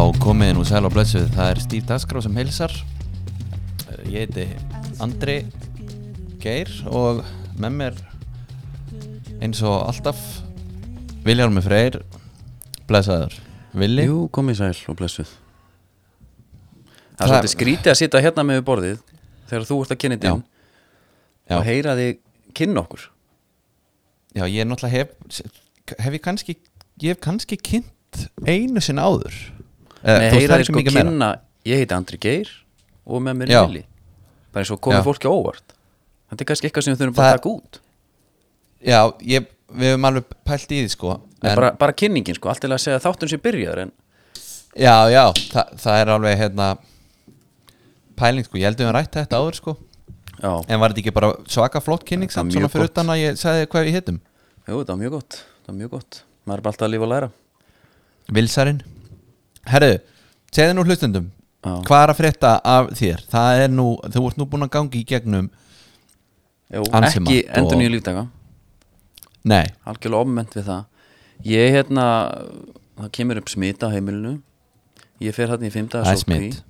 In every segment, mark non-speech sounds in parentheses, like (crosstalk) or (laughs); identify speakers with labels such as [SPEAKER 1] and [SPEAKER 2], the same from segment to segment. [SPEAKER 1] og sæl og blessuð, það er Stíf Dasgrá sem heilsar Eh, Ég heiti Andri Geir og með mér eins og alltaf Viljarmi Freyr blessaður Villi
[SPEAKER 2] Jú, komið sæl og blessuð Það
[SPEAKER 1] Það-
[SPEAKER 2] er svolítið skrítið að sitja hérna með við borðið þegar þú ert að kynna
[SPEAKER 1] Já.
[SPEAKER 2] þig
[SPEAKER 1] Já.
[SPEAKER 2] og heyra þig kynna okkur
[SPEAKER 1] Já, ég er náttúrulega hef, hef ég kannski ég hef kannski kynnt einu sinn áður Eh,
[SPEAKER 2] Nei,
[SPEAKER 1] þú veist,
[SPEAKER 2] heyra
[SPEAKER 1] það er
[SPEAKER 2] þig
[SPEAKER 1] ekki
[SPEAKER 2] sko
[SPEAKER 1] mikið
[SPEAKER 2] kynna
[SPEAKER 1] meira.
[SPEAKER 2] Ég heiti Andri Geir og með mér
[SPEAKER 1] Já.
[SPEAKER 2] er Vili Bara eins og komið
[SPEAKER 1] Já.
[SPEAKER 2] fólki á óvart Þetta er kannski eitthvað sem við þurfum bara
[SPEAKER 1] Það-
[SPEAKER 2] að taka út
[SPEAKER 1] Já, ég, við hefum alveg pælt í því sko
[SPEAKER 2] Nei, bara, bara kynningin sko, allt til að segja þáttun sem byrjaður en
[SPEAKER 1] Já, já, þa það er alveg hérna pæling sko, ég held að við höfum rætt þetta áður sko
[SPEAKER 2] já,
[SPEAKER 1] en var þetta ekki bara svaka flott kynning
[SPEAKER 2] Þetta er
[SPEAKER 1] samt
[SPEAKER 2] mjög
[SPEAKER 1] svona fyrir
[SPEAKER 2] gott.
[SPEAKER 1] utan að ég sagði hvað við hittum
[SPEAKER 2] jú, það var mjög gott það var mjög gott, maður er bara alltaf að lifa og læra
[SPEAKER 1] Vilsarinn Herðu, segðu nú hlustendum
[SPEAKER 2] Já.
[SPEAKER 1] hvað er að frétta af þér? Það er nú, þú ert nú búin að gangi í gegnum
[SPEAKER 2] Jú,
[SPEAKER 1] Ansi
[SPEAKER 2] ekki
[SPEAKER 1] margt og-
[SPEAKER 2] endur nýju lífdaga
[SPEAKER 1] Nei,
[SPEAKER 2] algjörlega ofmynd við það ég hérna, það kemur upp smita á heimilinu ég fer hérna í fimmta
[SPEAKER 1] það er smitt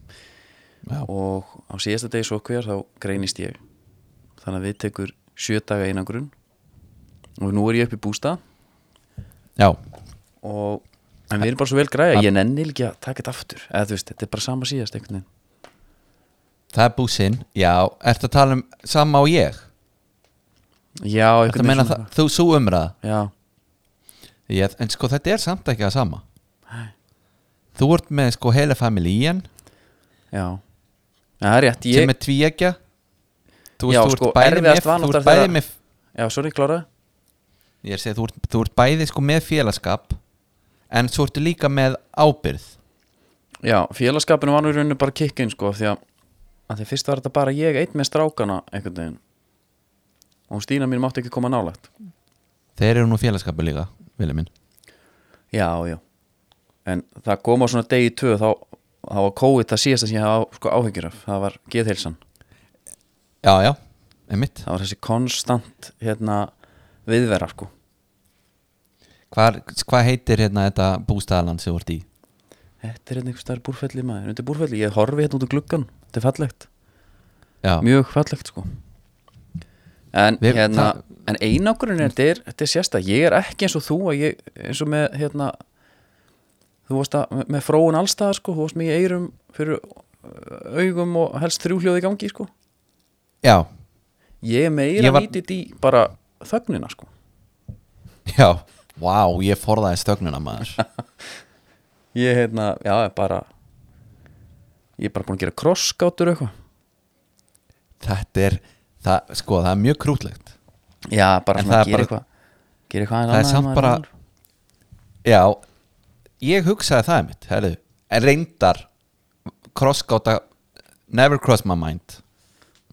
[SPEAKER 1] Já,
[SPEAKER 2] og á síðasta degi sótkvíjar þá greinist ég þannig að við tekur sjö daga einangrun og nú er ég upp í bústa
[SPEAKER 1] já,
[SPEAKER 2] og en við erum bara svo vel græja, ég nenni ekki að taka þetta aftur eða þú veist, þetta er bara sama síðast einhvern veginn
[SPEAKER 1] það er búsinn Já, ertu að tala um sama og ég?
[SPEAKER 2] já,
[SPEAKER 1] Ertu
[SPEAKER 2] einhvern
[SPEAKER 1] að meina
[SPEAKER 2] veginn
[SPEAKER 1] það, þú svo umræða?
[SPEAKER 2] svona- já,
[SPEAKER 1] Ég, en sko þetta er samt ekki að sama Þú ert með sko heila familíin
[SPEAKER 2] já Já, það er rétt, ég
[SPEAKER 1] sem er tvíegja Þú
[SPEAKER 2] Já,
[SPEAKER 1] veist, þú
[SPEAKER 2] sko,
[SPEAKER 1] ert bæði með,
[SPEAKER 2] erfiðast var
[SPEAKER 1] þú ert
[SPEAKER 2] náttúrulega
[SPEAKER 1] bæði
[SPEAKER 2] þegar-
[SPEAKER 1] með
[SPEAKER 2] já, sorry, klára
[SPEAKER 1] Ég er að segja, þú ert, þú ert bæði sko með félagskap en svo ertu líka með ábyrð
[SPEAKER 2] Já, félagskapinu var nú í rauninu bara kikkin sko af því að, að því fyrst var þetta bara ég einn með strákana einhvern veginn og hún Stína mín mátti ekki koma nálægt
[SPEAKER 1] Þeir eru nú félagskapu líka, vilja minn
[SPEAKER 2] Já, já En það kom á svona degi tvö þá, þá var COVID það síðast sem ég hafa sko, áhyggjur af það var geðheilsan
[SPEAKER 1] Já, já, einmitt
[SPEAKER 2] það var þessi konstant hérna viðvera sko
[SPEAKER 1] Hvað hvað heitir hérna þetta bústæðaland sem þú ert í?
[SPEAKER 2] Þetta er hérna einhvers staðar búrfelli maður undir búrfelli, ég horfi hérna út úr gluggan þetta er fallegt,
[SPEAKER 1] Já,
[SPEAKER 2] mjög fallegt sko En,
[SPEAKER 1] Við-
[SPEAKER 2] hérna,
[SPEAKER 1] það-
[SPEAKER 2] en einangurinn er, þetta er, þetta er sérstæð Ég er ekki eins og þú að ég, eins og með hérna, þú varst að, með fróun allstaðar sko, þú varst með í eyrum fyrir uh, augum og helst þrjúhljóð í gangi sko.
[SPEAKER 1] já,
[SPEAKER 2] Ég er meira
[SPEAKER 1] Ég var-
[SPEAKER 2] nýtit í bara þögnina sko.
[SPEAKER 1] já Vá, ég forðaði stögnuna maður
[SPEAKER 2] (laughs) Ég er hérna, já, er bara ég er bara búin að gera krosskátur eitthvað.
[SPEAKER 1] Þetta er, það, sko, það er mjög krútlegt
[SPEAKER 2] Já, bara
[SPEAKER 1] En
[SPEAKER 2] svona
[SPEAKER 1] það er
[SPEAKER 2] að gera
[SPEAKER 1] bara-
[SPEAKER 2] eitthvað gera eitthvað aðeins
[SPEAKER 1] Það er
[SPEAKER 2] annað en
[SPEAKER 1] samt
[SPEAKER 2] maður
[SPEAKER 1] bara-
[SPEAKER 2] annar.
[SPEAKER 1] Já, ég hugsaði það mitt, herðu En reyndar, crossgáta Never cross my mind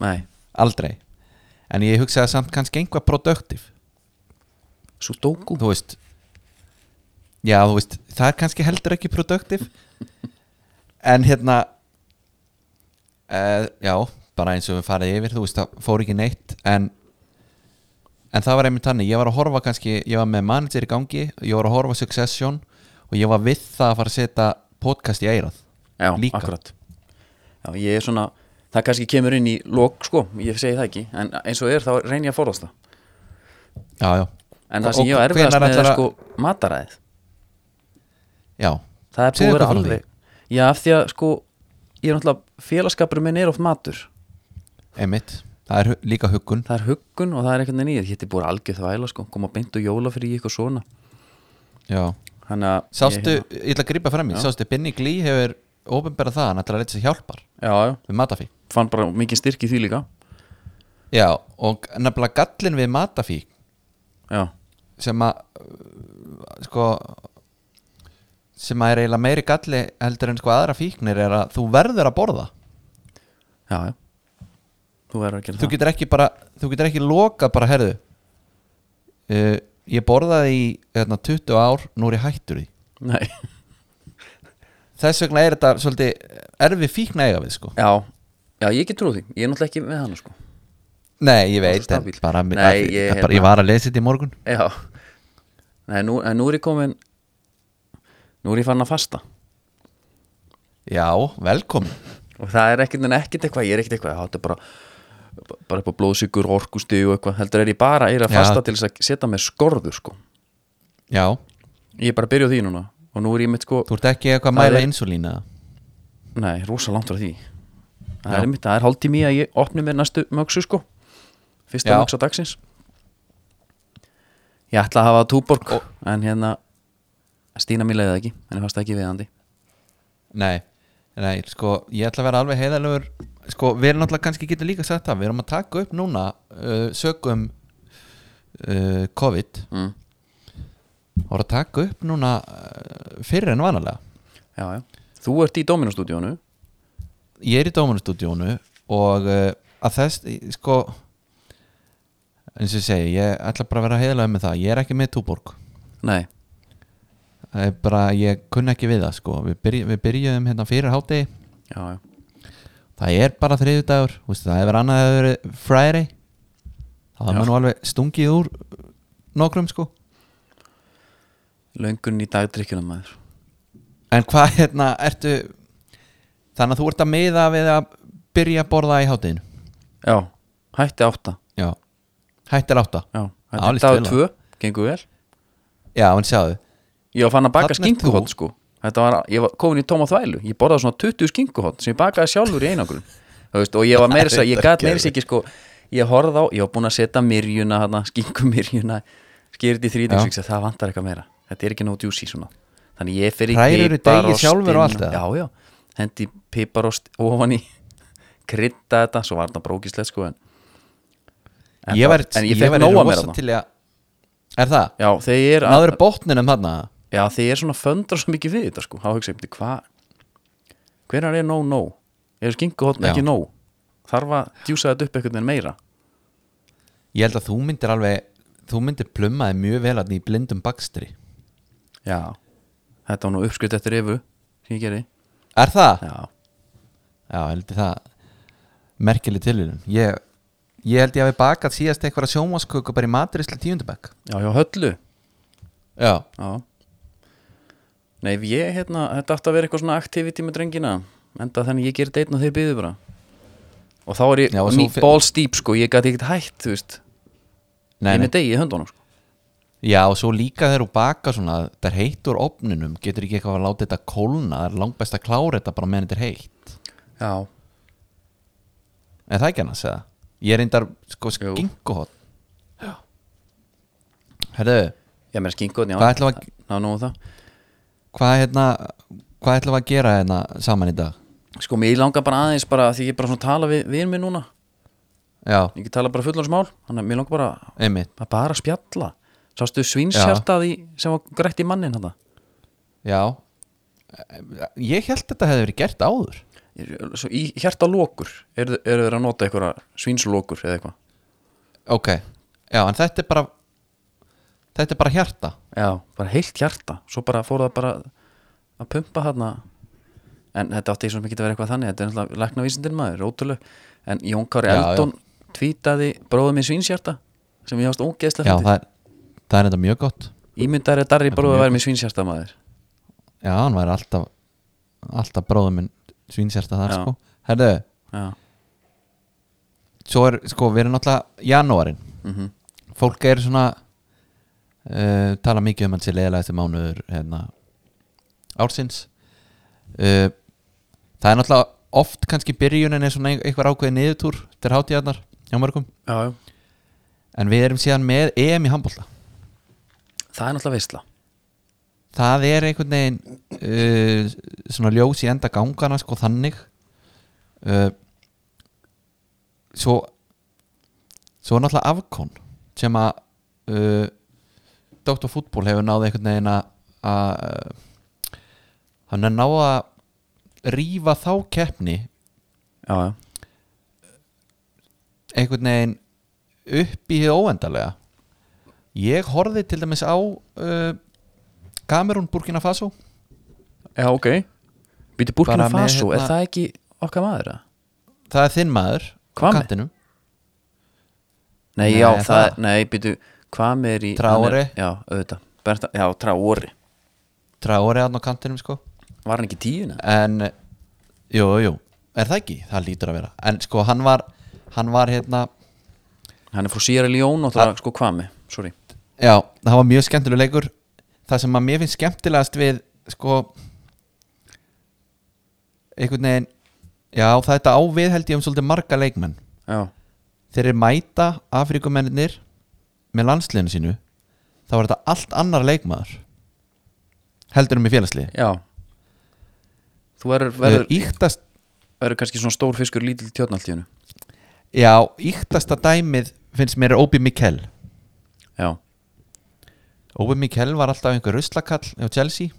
[SPEAKER 2] Nei,
[SPEAKER 1] Aldrei En ég hugsaði samt kannski einhvað produktiv
[SPEAKER 2] svo dóku
[SPEAKER 1] Þú veist Já, þú veist, það er kannski heldur ekki (laughs) produktiv En hérna uh, Já, bara eins og við farið yfir Þú veist, það fór ekki neitt En En það var einmitt þannig, ég var að horfa kannski Ég var með manager í gangi, ég var að horfa Succession og ég var við það að fara að setja podcast í eirað
[SPEAKER 2] Já,
[SPEAKER 1] Líka.
[SPEAKER 2] akkurat Já, ég er svona, það kannski kemur inn í lok, sko, ég segi það ekki en eins og er þá reyn ég að forðast það
[SPEAKER 1] Já, já
[SPEAKER 2] en það
[SPEAKER 1] Og-
[SPEAKER 2] sem ég á
[SPEAKER 1] og
[SPEAKER 2] erfiðast
[SPEAKER 1] hvenær
[SPEAKER 2] með er
[SPEAKER 1] ætlarðu
[SPEAKER 2] sko mataræðið,
[SPEAKER 1] Já,
[SPEAKER 2] það er búið
[SPEAKER 1] Segðu
[SPEAKER 2] að vera
[SPEAKER 1] eitthvað frá
[SPEAKER 2] alveg Já, af því að sko, ég er náttúrulega félagskapur minn er oft matur,
[SPEAKER 1] einmitt Það er hu- líka huggun
[SPEAKER 2] það er huggun og það er eitthvað nýð, hétti búið algjöð þvæla sko koma beint og jóla fyrir ég eitthvað svona
[SPEAKER 1] Já
[SPEAKER 2] Þannig að ég-
[SPEAKER 1] Sástu,
[SPEAKER 2] hérna-
[SPEAKER 1] ég ætla að grípa fram í, sástu Binni Glí hefur ofinbæra það, hann ætlar að leita sér hjálpar
[SPEAKER 2] Já, já,
[SPEAKER 1] við matafík
[SPEAKER 2] fann bara mikið styrki því líka
[SPEAKER 1] Já, og nefnilega gallin við matafík
[SPEAKER 2] Já,
[SPEAKER 1] sem að uh, sko sem að er eiginlega meiri galli heldur en sko aðra fíknir er að þú verður að borða
[SPEAKER 2] já, já Þú verður að gera
[SPEAKER 1] þú
[SPEAKER 2] það
[SPEAKER 1] getur ekki bara, þú getur ekki lokað bara herðu uh, ég borðaði í hérna, 20 ár, nú er ég hættur því
[SPEAKER 2] Nei, (laughs)
[SPEAKER 1] þess vegna er þetta svolítið erfi fíkna eiga við sko
[SPEAKER 2] já, já, ég get trúið því, ég er náttúrulega ekki með hana sko
[SPEAKER 1] Nei, ég veit,
[SPEAKER 2] Alltaf
[SPEAKER 1] en
[SPEAKER 2] stabíl.
[SPEAKER 1] bara,
[SPEAKER 2] Nei,
[SPEAKER 1] að,
[SPEAKER 2] ég- hérna-
[SPEAKER 1] ég, bara, ég var að lesa þetta í morgun
[SPEAKER 2] Já Nei, nú, en nú er ég komin Nú er ég farin að fasta
[SPEAKER 1] Já, velkomin
[SPEAKER 2] og það er ekkert en ekkert eitthvað, ég er ekkert eitthvað það er bara, bara upp á blóðsíkur orkusti og eitthvað, heldur er ég bara er að
[SPEAKER 1] Já.
[SPEAKER 2] fasta til þess að setja með skorður sko
[SPEAKER 1] Já,
[SPEAKER 2] ég er bara að byrja á því núna og nú er ég mitt sko,
[SPEAKER 1] þú ert ekki eitthvað að
[SPEAKER 2] Það
[SPEAKER 1] mæla
[SPEAKER 2] er-
[SPEAKER 1] insulína
[SPEAKER 2] nei, rosa langt frá því það
[SPEAKER 1] Já.
[SPEAKER 2] er mitt, það er hálftími að ég opni mér næstu mögsu sko fyrsta
[SPEAKER 1] Já.
[SPEAKER 2] mögsa dagsins ég ætla að hafa túborg en hérna Stína mér leiði það ekki, henni fasta ekki viðandi
[SPEAKER 1] Nei, nei, sko, ég ætla að vera alveg heiðalegur Sko, við erum náttúrulega kannski getur líka sagt það Við erum að taka upp núna uh, sögum uh, COVID
[SPEAKER 2] mm.
[SPEAKER 1] og erum að taka upp núna uh, fyrir en vanalega
[SPEAKER 2] já, já. þú ert í Dominostúdíónu
[SPEAKER 1] Ég er í Dómanustúdíónu og uh, að þess, sko eins og ég segi, ég ætla bara að vera heiðalegur með það Ég er ekki með túborg
[SPEAKER 2] nei,
[SPEAKER 1] Það er bara, ég kunna ekki við það, sko Við, byrj, við byrjuðum hérna fyrir hátegi
[SPEAKER 2] já, já
[SPEAKER 1] það er bara þriðjudagur þú veist, það hefur annað að vera friday það var
[SPEAKER 2] Já.
[SPEAKER 1] maður nú alveg stungið úr nokkrum sko
[SPEAKER 2] löngun í dagdrykkjunum maður
[SPEAKER 1] en hvað hérna ertu þannig að þú ert að miða við að byrja að borða í hátinu
[SPEAKER 2] já, hætti átta
[SPEAKER 1] já, hættir átta
[SPEAKER 2] já,
[SPEAKER 1] Já,
[SPEAKER 2] hætti
[SPEAKER 1] líst
[SPEAKER 2] dag
[SPEAKER 1] vel á.
[SPEAKER 2] tvö, gengur vel
[SPEAKER 1] já, en sjáðu,
[SPEAKER 2] ég fann að baka
[SPEAKER 1] Þarna ert
[SPEAKER 2] skinkuhot
[SPEAKER 1] þú.
[SPEAKER 2] sko þetta var, ég var komin í tóma þvælu ég borðaði svona 20 skinkuhot sem ég bakaði sjálfur í einangrun Þú veist, og ég var meira þess að, ég gat meira þess ekki sko ég horfði á, ég var búin að setja myrjuna hana, skinkumirjuna skýrði í þrýtingsvíks að það vantar eitthvað meira þetta er ekki nóg djúsi svona þannig ég fer í
[SPEAKER 1] Hrærðu deigið sjálfur og allt það?
[SPEAKER 2] piparostinn- já, já, hendi piparost ofan í (laughs) krydda þetta, svo var þetta brókislegt sko en, en
[SPEAKER 1] ég
[SPEAKER 2] það-
[SPEAKER 1] væri
[SPEAKER 2] en ég
[SPEAKER 1] ég
[SPEAKER 2] fekk
[SPEAKER 1] væri
[SPEAKER 2] nóa mér
[SPEAKER 1] rosa
[SPEAKER 2] þarna
[SPEAKER 1] til í að er það,
[SPEAKER 2] já, þegar ég er að-
[SPEAKER 1] náður botninum þarna
[SPEAKER 2] Já, því ég er svona föndra svo mikið við þetta sko þá hugsa ég, bíddu, hvað hvenar er nóg nóg? Er skinkuhotn
[SPEAKER 1] Já.
[SPEAKER 2] ekki nóg? Þarf að djúsa þetta upp einhvern veginn meira
[SPEAKER 1] ég held að þú myndir alveg þú myndir plummaði mjög vel að í blindum bakstri
[SPEAKER 2] Já Þetta var nú uppskrift eftir yfu sem ég gerði
[SPEAKER 1] er það?
[SPEAKER 2] Já,
[SPEAKER 1] Já, heldur það merkileg tilvíðun ég, ég held ég hafi bakað síðast eitthvað sjómasköku bara í maturislu tíundabæk
[SPEAKER 2] já, já, höllu
[SPEAKER 1] Já,
[SPEAKER 2] Já Nei, ef ég, hérna, þetta átti að vera eitthvað svona activity með drengina enda þannig ég gerði deitn og þeir byðu bara og þá er ég,
[SPEAKER 1] Já, og
[SPEAKER 2] ný,
[SPEAKER 1] svo fe-
[SPEAKER 2] balls deep sko ég gæti ekkert hætt, þú veist
[SPEAKER 1] nei,
[SPEAKER 2] ég er
[SPEAKER 1] nei.
[SPEAKER 2] með degi í höndunum sko
[SPEAKER 1] Já og svo líka þegar þú bakar svona það er heitt úr opninum, getur ekki eitthvað að láta þetta kólna, það er langt best að klára þetta bara meðan þetta er heitt
[SPEAKER 2] Já,
[SPEAKER 1] En það er ekki annars eða Ég er reyndar sko
[SPEAKER 2] Jú.
[SPEAKER 1] skinkuhot Herðu,
[SPEAKER 2] ég meina skinkuhotn, já
[SPEAKER 1] Hvað ætlum við
[SPEAKER 2] Ná, nú það
[SPEAKER 1] hvað hérna hvað ætlum við að gera hérna saman í dag?
[SPEAKER 2] Sko, mér langar bara aðeins bara því ég er bara svona að tala við vinn minn núna
[SPEAKER 1] Já,
[SPEAKER 2] ég get tala bara fullansmál, þannig að mér langar bara
[SPEAKER 1] einmitt
[SPEAKER 2] að bara spjalla Sástu svinshjartaði sem var grætt í mannin þetta
[SPEAKER 1] Já Ég held þetta hefði verið gert áður
[SPEAKER 2] Svo í hjarta lókur eru eru þeir að nota einhverja svinslókur eða eitthvað
[SPEAKER 1] Ok, já en þetta er bara Þetta er bara hjarta
[SPEAKER 2] Já, bara heilt hjarta Svo bara fór það bara að pumpa þarna En þetta átti ég svo mikið að vera eitthvað þannig Þetta er náttúrulega læknavísindin maður, rótuleg En Jón
[SPEAKER 1] Já,
[SPEAKER 2] Kári
[SPEAKER 1] já.
[SPEAKER 2] Eldon tvítaði bróðum í svinshjarta sem ég ást
[SPEAKER 1] Já
[SPEAKER 2] ógeðslega
[SPEAKER 1] það
[SPEAKER 2] fyndið
[SPEAKER 1] er, það er þetta mjög gott
[SPEAKER 2] Ímyndar er darri bróðu að vera með svinshjarta maður
[SPEAKER 1] Já, hann væri alltaf Alltaf bróðum minn svínsjarta þar
[SPEAKER 2] Já.
[SPEAKER 1] sko Herðu,
[SPEAKER 2] Já,
[SPEAKER 1] svo er sko Við erum náttúrulega janúarinn
[SPEAKER 2] mhm
[SPEAKER 1] Fólk er svona uh, Tala mikið um hann sér leðilega eftir mánuður hérna, Ársins uh, Það er náttúrulega oft kannski byrjunin er svona einhver ákveði niðurtúr til hátíðarnar hjá mörgum
[SPEAKER 2] já, já.
[SPEAKER 1] En við erum síðan með EM í handbólta
[SPEAKER 2] það er náttúrulega veistla
[SPEAKER 1] Það er einhvern veginn uh, svona ljós í enda gangana sko þannig uh, Svo Svo er náttúrulega afkon sem að uh, Dr. Fútból hefur náði einhvern veginn að að- uh, hann er náð að rífa þá keppni
[SPEAKER 2] já, já.
[SPEAKER 1] einhvern veginn upp í hið óendalega ég horfði til dæmis á uh, Kamerún Burkina Faso
[SPEAKER 2] já, ok Býtu Burkina
[SPEAKER 1] Bara með,
[SPEAKER 2] Faso,
[SPEAKER 1] hérna-
[SPEAKER 2] er það ekki okkar maður? eða?
[SPEAKER 1] það er þinn maður á
[SPEAKER 2] Kwame?
[SPEAKER 1] kantinum.
[SPEAKER 2] Nei,
[SPEAKER 1] Nei,
[SPEAKER 2] já,
[SPEAKER 1] það-
[SPEAKER 2] það, nei, býtu hvað með er í
[SPEAKER 1] Traore.
[SPEAKER 2] hann er- Já, auðvitað, Berta, já, Traore
[SPEAKER 1] Traore hann á kantinum sko
[SPEAKER 2] Var hann ekki í tíuna?
[SPEAKER 1] en Jú, jú, er það ekki? Það lítur að vera En sko, hann var, hann var hérna
[SPEAKER 2] hann er frá Sierra Leone og það
[SPEAKER 1] Ah.
[SPEAKER 2] er sko kvami sorry,
[SPEAKER 1] Já, það var mjög skemmtileg leikur Það sem að mér finnst skemmtilegast við sko einhvern veginn Já, þetta á við held ég um svolítið marga leikmenn
[SPEAKER 2] já,
[SPEAKER 1] Þeir eru mæta Afrikumennir með landsliðinu sínu þá var þetta allt annar leikmaður heldur um í félagsliði
[SPEAKER 2] já þú verður
[SPEAKER 1] Verður...
[SPEAKER 2] verður,
[SPEAKER 1] Íktast,
[SPEAKER 2] verður kannski svona stór fiskur lítil tjóðn allt í hennu
[SPEAKER 1] já, íktasta dæmið finnst mér er Óbi Mikkel
[SPEAKER 2] já,
[SPEAKER 1] Óbi Mikkel var alltaf einhver ruslakall á Chelsea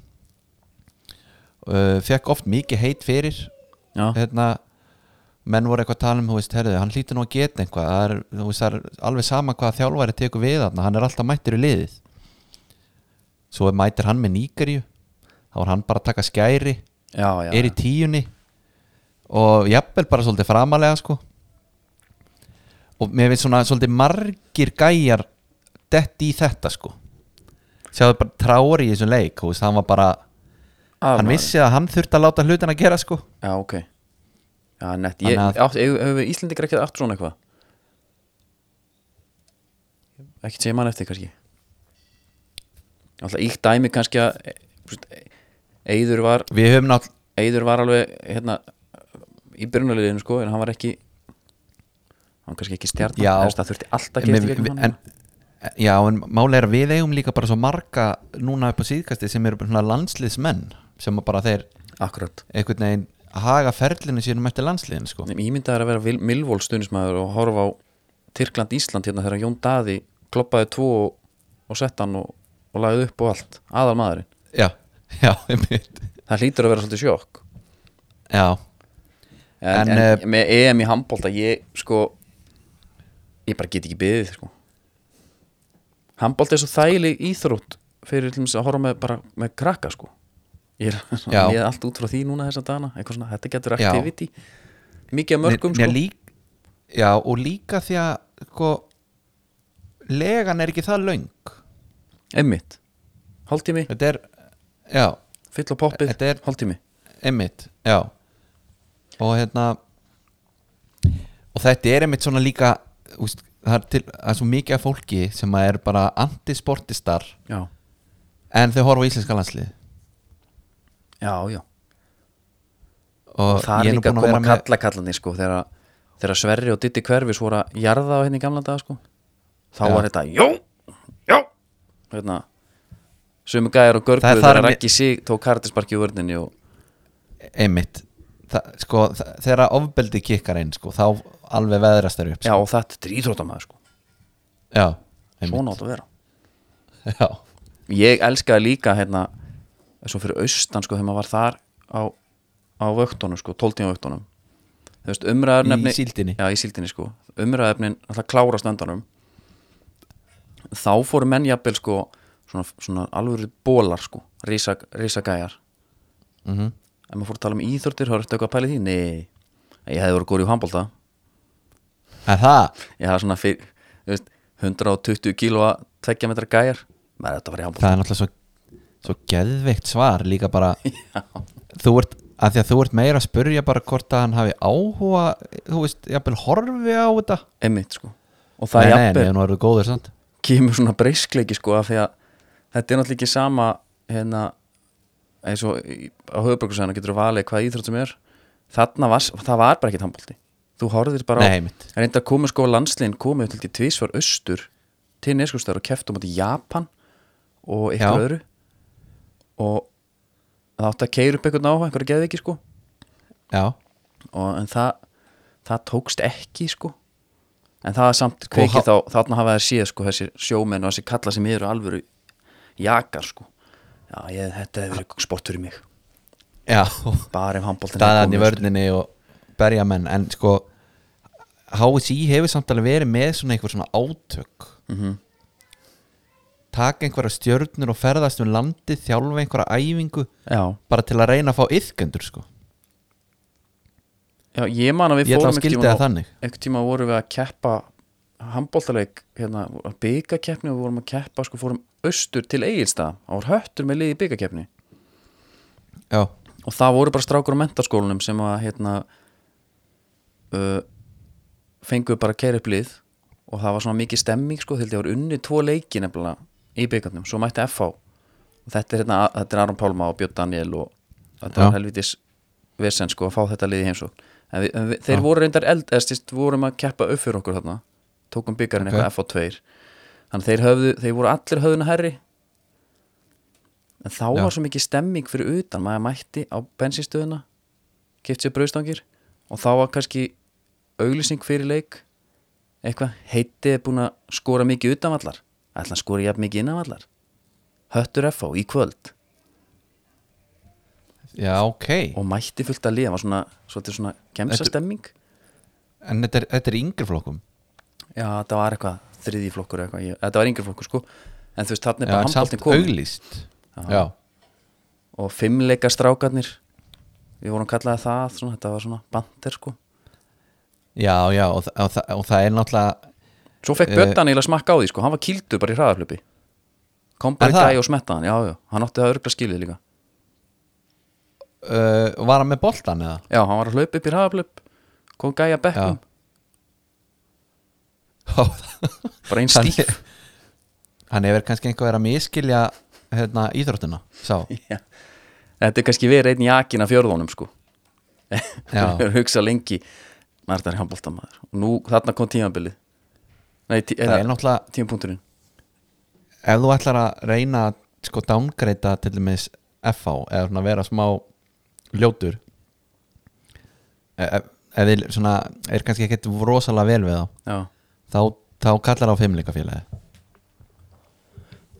[SPEAKER 1] uh, fekk oft mikið heit fyrir
[SPEAKER 2] já,
[SPEAKER 1] hérna, menn voru eitthvað að tala um þú veist, herðu, hann hlýtur nú að geta einhvað það er, þú veist, það er alveg sama hvað þjálfæri tekur við hann, hann er alltaf mættur í liðið svo mætir hann með nýgarju þá var hann bara að taka skæri
[SPEAKER 2] já, já,
[SPEAKER 1] er í tíunni og jafnvel bara svolítið framalega sko og mér finnst svona svolítið margir gæjar dett í þetta sko sjáðu bara trári í þessum leik þú veist, hann var bara,
[SPEAKER 2] Af
[SPEAKER 1] hann
[SPEAKER 2] maður.
[SPEAKER 1] vissi að hann þurfti að láta hlutina gera sko
[SPEAKER 2] já, ok já, nett, ég,
[SPEAKER 1] Þannig að-
[SPEAKER 2] átt, hefur hefur við Íslendingar ekki átt svona eitthvað ekki segja mann eftir kannski alltaf íkt dæmi kannski að e- þú veist, e- Eiður var
[SPEAKER 1] við höfum nátt,
[SPEAKER 2] Eiður var alveg hérna, í byrjunarliðinu sko en hann var ekki hann var kannski ekki stjarnan
[SPEAKER 1] Já.
[SPEAKER 2] það þurfti alltaf að
[SPEAKER 1] en,
[SPEAKER 2] gera
[SPEAKER 1] við-
[SPEAKER 2] þetta
[SPEAKER 1] við- en, já, en máli er að við eigum líka bara svo marga núna upp á síðkasti sem eru bara svona landsliðsmenn sem að bara þeir
[SPEAKER 2] akkurat
[SPEAKER 1] einhvern veginn haga ferlinu sínum eftir landsliðinu sko
[SPEAKER 2] ímyndað er að vera Milvól stuðnismæður og horfa á Tyrkland Ísland hérna þegar Jón Daði kloppaði tvo og, og sett hann og, og lagði upp og allt aðal maðurinn
[SPEAKER 1] já, (laughs) já, einmitt
[SPEAKER 2] það hlýtur að vera svolítið sjokk
[SPEAKER 1] já,
[SPEAKER 2] en,
[SPEAKER 1] En,
[SPEAKER 2] en,
[SPEAKER 1] eh,
[SPEAKER 2] með EM í handbólta ég sko ég bara get ekki beðið sko. handbólta er svo þægileg íþrótt fyrir til dæmis að horfa með, bara, með krakka sko. ég, er, (laughs)
[SPEAKER 1] Já.
[SPEAKER 2] ég er allt út frá því núna þessa dana eitthvað svona, þetta getur
[SPEAKER 1] Já.
[SPEAKER 2] activity mikið að mörgum
[SPEAKER 1] mér, mér
[SPEAKER 2] sko.
[SPEAKER 1] lík, já og líka því að sko, legan er ekki það löng
[SPEAKER 2] einmitt, hálftími
[SPEAKER 1] þetta er, já,
[SPEAKER 2] fyll á poppið,
[SPEAKER 1] Þetta er-
[SPEAKER 2] hálftími
[SPEAKER 1] einmitt já, og hérna og þetta er einmitt svona líka úst, það, er til, það er svo mikið af fólki sem að er bara antisportistar
[SPEAKER 2] já,
[SPEAKER 1] en þau horfa á íslenska landslið
[SPEAKER 2] já, já
[SPEAKER 1] og
[SPEAKER 2] það
[SPEAKER 1] ég
[SPEAKER 2] er
[SPEAKER 1] er nú
[SPEAKER 2] líka
[SPEAKER 1] búin að
[SPEAKER 2] að koma
[SPEAKER 1] vera
[SPEAKER 2] að
[SPEAKER 1] með
[SPEAKER 2] kalla kallanir sko, þegar, þegar Sverri og Ditti Hverfis voru að jarða á henni í gamla daga sko. þá
[SPEAKER 1] Já.
[SPEAKER 2] var þetta jó, jó hérna sömu gæjar og görguðu
[SPEAKER 1] Það er
[SPEAKER 2] þegar
[SPEAKER 1] þar
[SPEAKER 2] Raggi Sig tók kartisparki í vörninni og
[SPEAKER 1] einmitt það, sko, það, þegar ofbeldi kikkar inn sko, þá alveg veðrast þær upp sko.
[SPEAKER 2] já, og þetta er íþróttamaður sko.
[SPEAKER 1] já, einmitt
[SPEAKER 2] svona átt að vera
[SPEAKER 1] já.
[SPEAKER 2] ég elskaði líka hérna svo fyrir austan sko þegar maður var þar á, á vöktunum sko, tóltíma vöktunum þú veist umræðarnefni
[SPEAKER 1] Í síldinni.
[SPEAKER 2] já í síldinni sko, umræðarnefnin alltaf klárast endanum þá fóru menn jafnvel sko svona, svona alvöru bólar sko risa, risa gæjar
[SPEAKER 1] Mm
[SPEAKER 2] ef maður fór að tala um íþórtir, hörðu eitthvað að pæla í því nei, ég hefði voru góri í handbólta
[SPEAKER 1] Er það?
[SPEAKER 2] ég hafði svona fyrir, þú veist 120 kílóa, 2 metra gæjar maður þetta var í (laughs) handbólta
[SPEAKER 1] Það er náttúrulega svo, svo geðveikt svar líka bara þú ert, að því að þú ert meira að spurja bara hvort að hann hafi áhuga þú veist, jafnvel horfi á þetta
[SPEAKER 2] einmitt sko og það
[SPEAKER 1] Nei,
[SPEAKER 2] er
[SPEAKER 1] nei,
[SPEAKER 2] jafnvel
[SPEAKER 1] nei, nú eru góður samt
[SPEAKER 2] kemur svona breyskleiki sko af því að þetta er náttúrulega ekki sama hérna eins og í- á höfuborgarsæðinu getur þú valið hvað íþrótt sem er þarna var, það var bara ekkert handbólti þú horfðir bara
[SPEAKER 1] Nei,
[SPEAKER 2] á,
[SPEAKER 1] mitt.
[SPEAKER 2] reynda að koma sko á landsliðin komið til því tvísvar austur til neskustæður og keftum á móti Japan og eitthvað
[SPEAKER 1] Já.
[SPEAKER 2] öðru og það átti að keira upp einhvern á einhverja geðviki sko
[SPEAKER 1] Já,
[SPEAKER 2] og, en það, það tókst ekki sko en það er samt kveikið þá, þarna hafa þær séð sko þessi sjómenn og þessi kalla sem eru alvöru jakar sko já, ég, þetta hefur verið sportur í mig
[SPEAKER 1] já
[SPEAKER 2] bara ef handbóltin
[SPEAKER 1] staðan í vörninni og berja menn en sko HSI hefur samt alveg verið með svona einhver svona átök mm
[SPEAKER 2] Mhm.
[SPEAKER 1] -hmm. taka einhverja stjörnur og ferðast um landið, þjálfa einhverja æfingu
[SPEAKER 2] sko. já,
[SPEAKER 1] bara til að reyna að fá yfkendur sko
[SPEAKER 2] já, ég man að við
[SPEAKER 1] Ég ætla að
[SPEAKER 2] fórum
[SPEAKER 1] skildi
[SPEAKER 2] tíma
[SPEAKER 1] það þannig.
[SPEAKER 2] einhvern tíma vorum við að keppa handbóltaleik, hérna, byggakeppni og við vorum að keppa, sko, fórum austur til Egilstað, á höttur með liði byggakeppni
[SPEAKER 1] Já,
[SPEAKER 2] og það voru bara strákur á mentaskólanum sem að hérna uh, fengu bara kæri upp lið og það var svona mikið stemming sko þegar það voru unni tvo leiki nefnilega í byggarnum, svo mætti FH og þetta er hérna, þetta er Aron Pálma og Björn Daniel og þetta
[SPEAKER 1] Já.
[SPEAKER 2] var helvitis vesen sko að fá þetta lið í heimsókn en við, en við, þeir voru reyndar eld, eða stýst vorum að keppa upp fyrir okkur þarna tókum byggarinn
[SPEAKER 1] Ok.
[SPEAKER 2] eitthvað FH2 þannig þeir höfðu, þeir voru allir höfðuna herri en þá
[SPEAKER 1] Já.
[SPEAKER 2] var svo mikið stemming fyrir utan, maður mætti á bensinstöðuna kipti sér brauðstangir og þá var kannski auglýsing fyrir leik eitthvað, heiti er búin að skora mikið utanvallar ætla að skora jafn mikið innanvallar höttur FH í kvöld
[SPEAKER 1] Já, ok
[SPEAKER 2] og mætti fullt að liða, var svona, svolítið svona gemsa stemming
[SPEAKER 1] En þetta er, þetta er í yngri flokkum
[SPEAKER 2] já, þetta var eitthvað þriðji flokkur eða eitthvað, ég, þetta var yngri flokkur sko en þú veist, þarna
[SPEAKER 1] Já,
[SPEAKER 2] er bara
[SPEAKER 1] en samt
[SPEAKER 2] handbóltin komið
[SPEAKER 1] auglýst Já,
[SPEAKER 2] og fimmleika strákarnir við vorum kallaði það svona, þetta var svona bandir sko
[SPEAKER 1] já, já og, þa- og, þa- og það er náttúrulega
[SPEAKER 2] svo fekk
[SPEAKER 1] Eh.
[SPEAKER 2] Böttan eiginlega smakka á því sko hann var kildur bara í hraðaflöpi kom bara
[SPEAKER 1] Er
[SPEAKER 2] í
[SPEAKER 1] það?
[SPEAKER 2] dag og smetta hann, já, já, hann átti það örgla skilið líka
[SPEAKER 1] uh, Var hann með boltan eða?
[SPEAKER 2] já, hann var að hlaupa upp í hraðaflöp kom gæja bekkum, bara (laughs) einn
[SPEAKER 1] Hann-
[SPEAKER 2] stíf
[SPEAKER 1] Hann hefur kannski einhver verið að miskilja hérna, íþróttina
[SPEAKER 2] (laughs)
[SPEAKER 1] Sá,
[SPEAKER 2] (laughs) Já. þetta er kannski verið einn jakin af fjörðunum sko
[SPEAKER 1] Já.
[SPEAKER 2] við (laughs) hugsa lengi maður þetta er handbóltamaður og nú, þarna kom tímabilið nei, tí,
[SPEAKER 1] það er
[SPEAKER 2] eða,
[SPEAKER 1] náttúrulega
[SPEAKER 2] tímapunkturinn
[SPEAKER 1] ef þú ætlar að reyna að sko downgreita til dæmis FH eða svona vera smá ljótur e- ef ef þið svona er kannski ekkert rosalega vel við
[SPEAKER 2] já
[SPEAKER 1] þá þá, þá kallar á fimmleikafélagi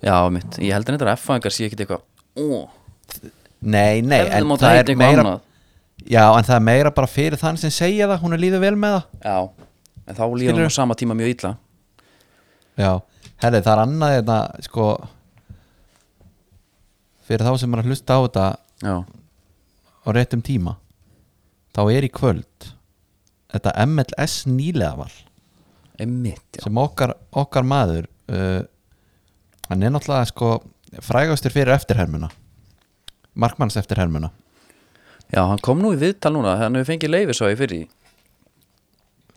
[SPEAKER 2] Já, mitt, ég heldur þetta að F-fængar sé ekkit eitthvað Ó,
[SPEAKER 1] Nei, nei,
[SPEAKER 2] hefðu
[SPEAKER 1] en
[SPEAKER 2] mátt
[SPEAKER 1] það er
[SPEAKER 2] heita eitthvað
[SPEAKER 1] meira
[SPEAKER 2] annað
[SPEAKER 1] Já, en það er meira bara fyrir þann sem segja það hún er líður vel með það
[SPEAKER 2] Já, en þá líður
[SPEAKER 1] Skilurðu?
[SPEAKER 2] hún á sama tíma mjög illa
[SPEAKER 1] Já, herri, það er annað þetta sko fyrir þá sem er að hlusta á þetta
[SPEAKER 2] Já,
[SPEAKER 1] á réttum tíma þá er í kvöld þetta MLS nýlega val
[SPEAKER 2] einmitt, já
[SPEAKER 1] sem okkar, okkar maður uh, hann er náttúrulega sko frægastur fyrir eftirhermuna markmanns eftirhermuna
[SPEAKER 2] Já, hann kom nú í viðtal núna, hann hefur fengið leifis á ég fyrir því.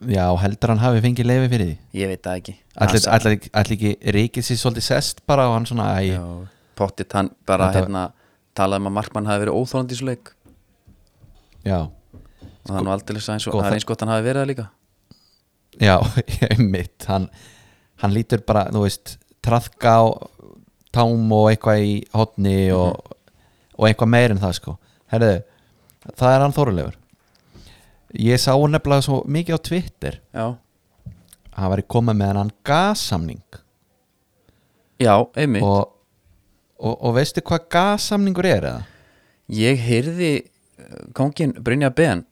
[SPEAKER 1] já, heldur hann hafi fengið leifi fyrir því
[SPEAKER 2] Ég veit það ekki
[SPEAKER 1] allir,
[SPEAKER 2] Hann
[SPEAKER 1] allir, allir ekki ríkið sér svolítið sest bara og hann svona æ,
[SPEAKER 2] sa- Já, pottitt hann bara
[SPEAKER 1] Þetta-
[SPEAKER 2] hérna talaði um að markmann hafi verið óþólandi í svo leik
[SPEAKER 1] já,
[SPEAKER 2] og hann var aldrei eins og
[SPEAKER 1] sko,
[SPEAKER 2] það
[SPEAKER 1] það-
[SPEAKER 2] er eins gott hann hafi verið það líka
[SPEAKER 1] já, (laughs) einmitt hann, hann lítur bara, þú veist trafka á tám og eitthvað í hotni og, og eitthvað meir en það sko herðu, það er hann þórulegur ég sá hann nefnilega svo mikið á Twitter
[SPEAKER 2] Já,
[SPEAKER 1] hann var í koma með hann gassamning
[SPEAKER 2] já einmitt
[SPEAKER 1] og, og, og veistu hvað gassamningur er eða?
[SPEAKER 2] Ég heyrði kongin Brynja Ben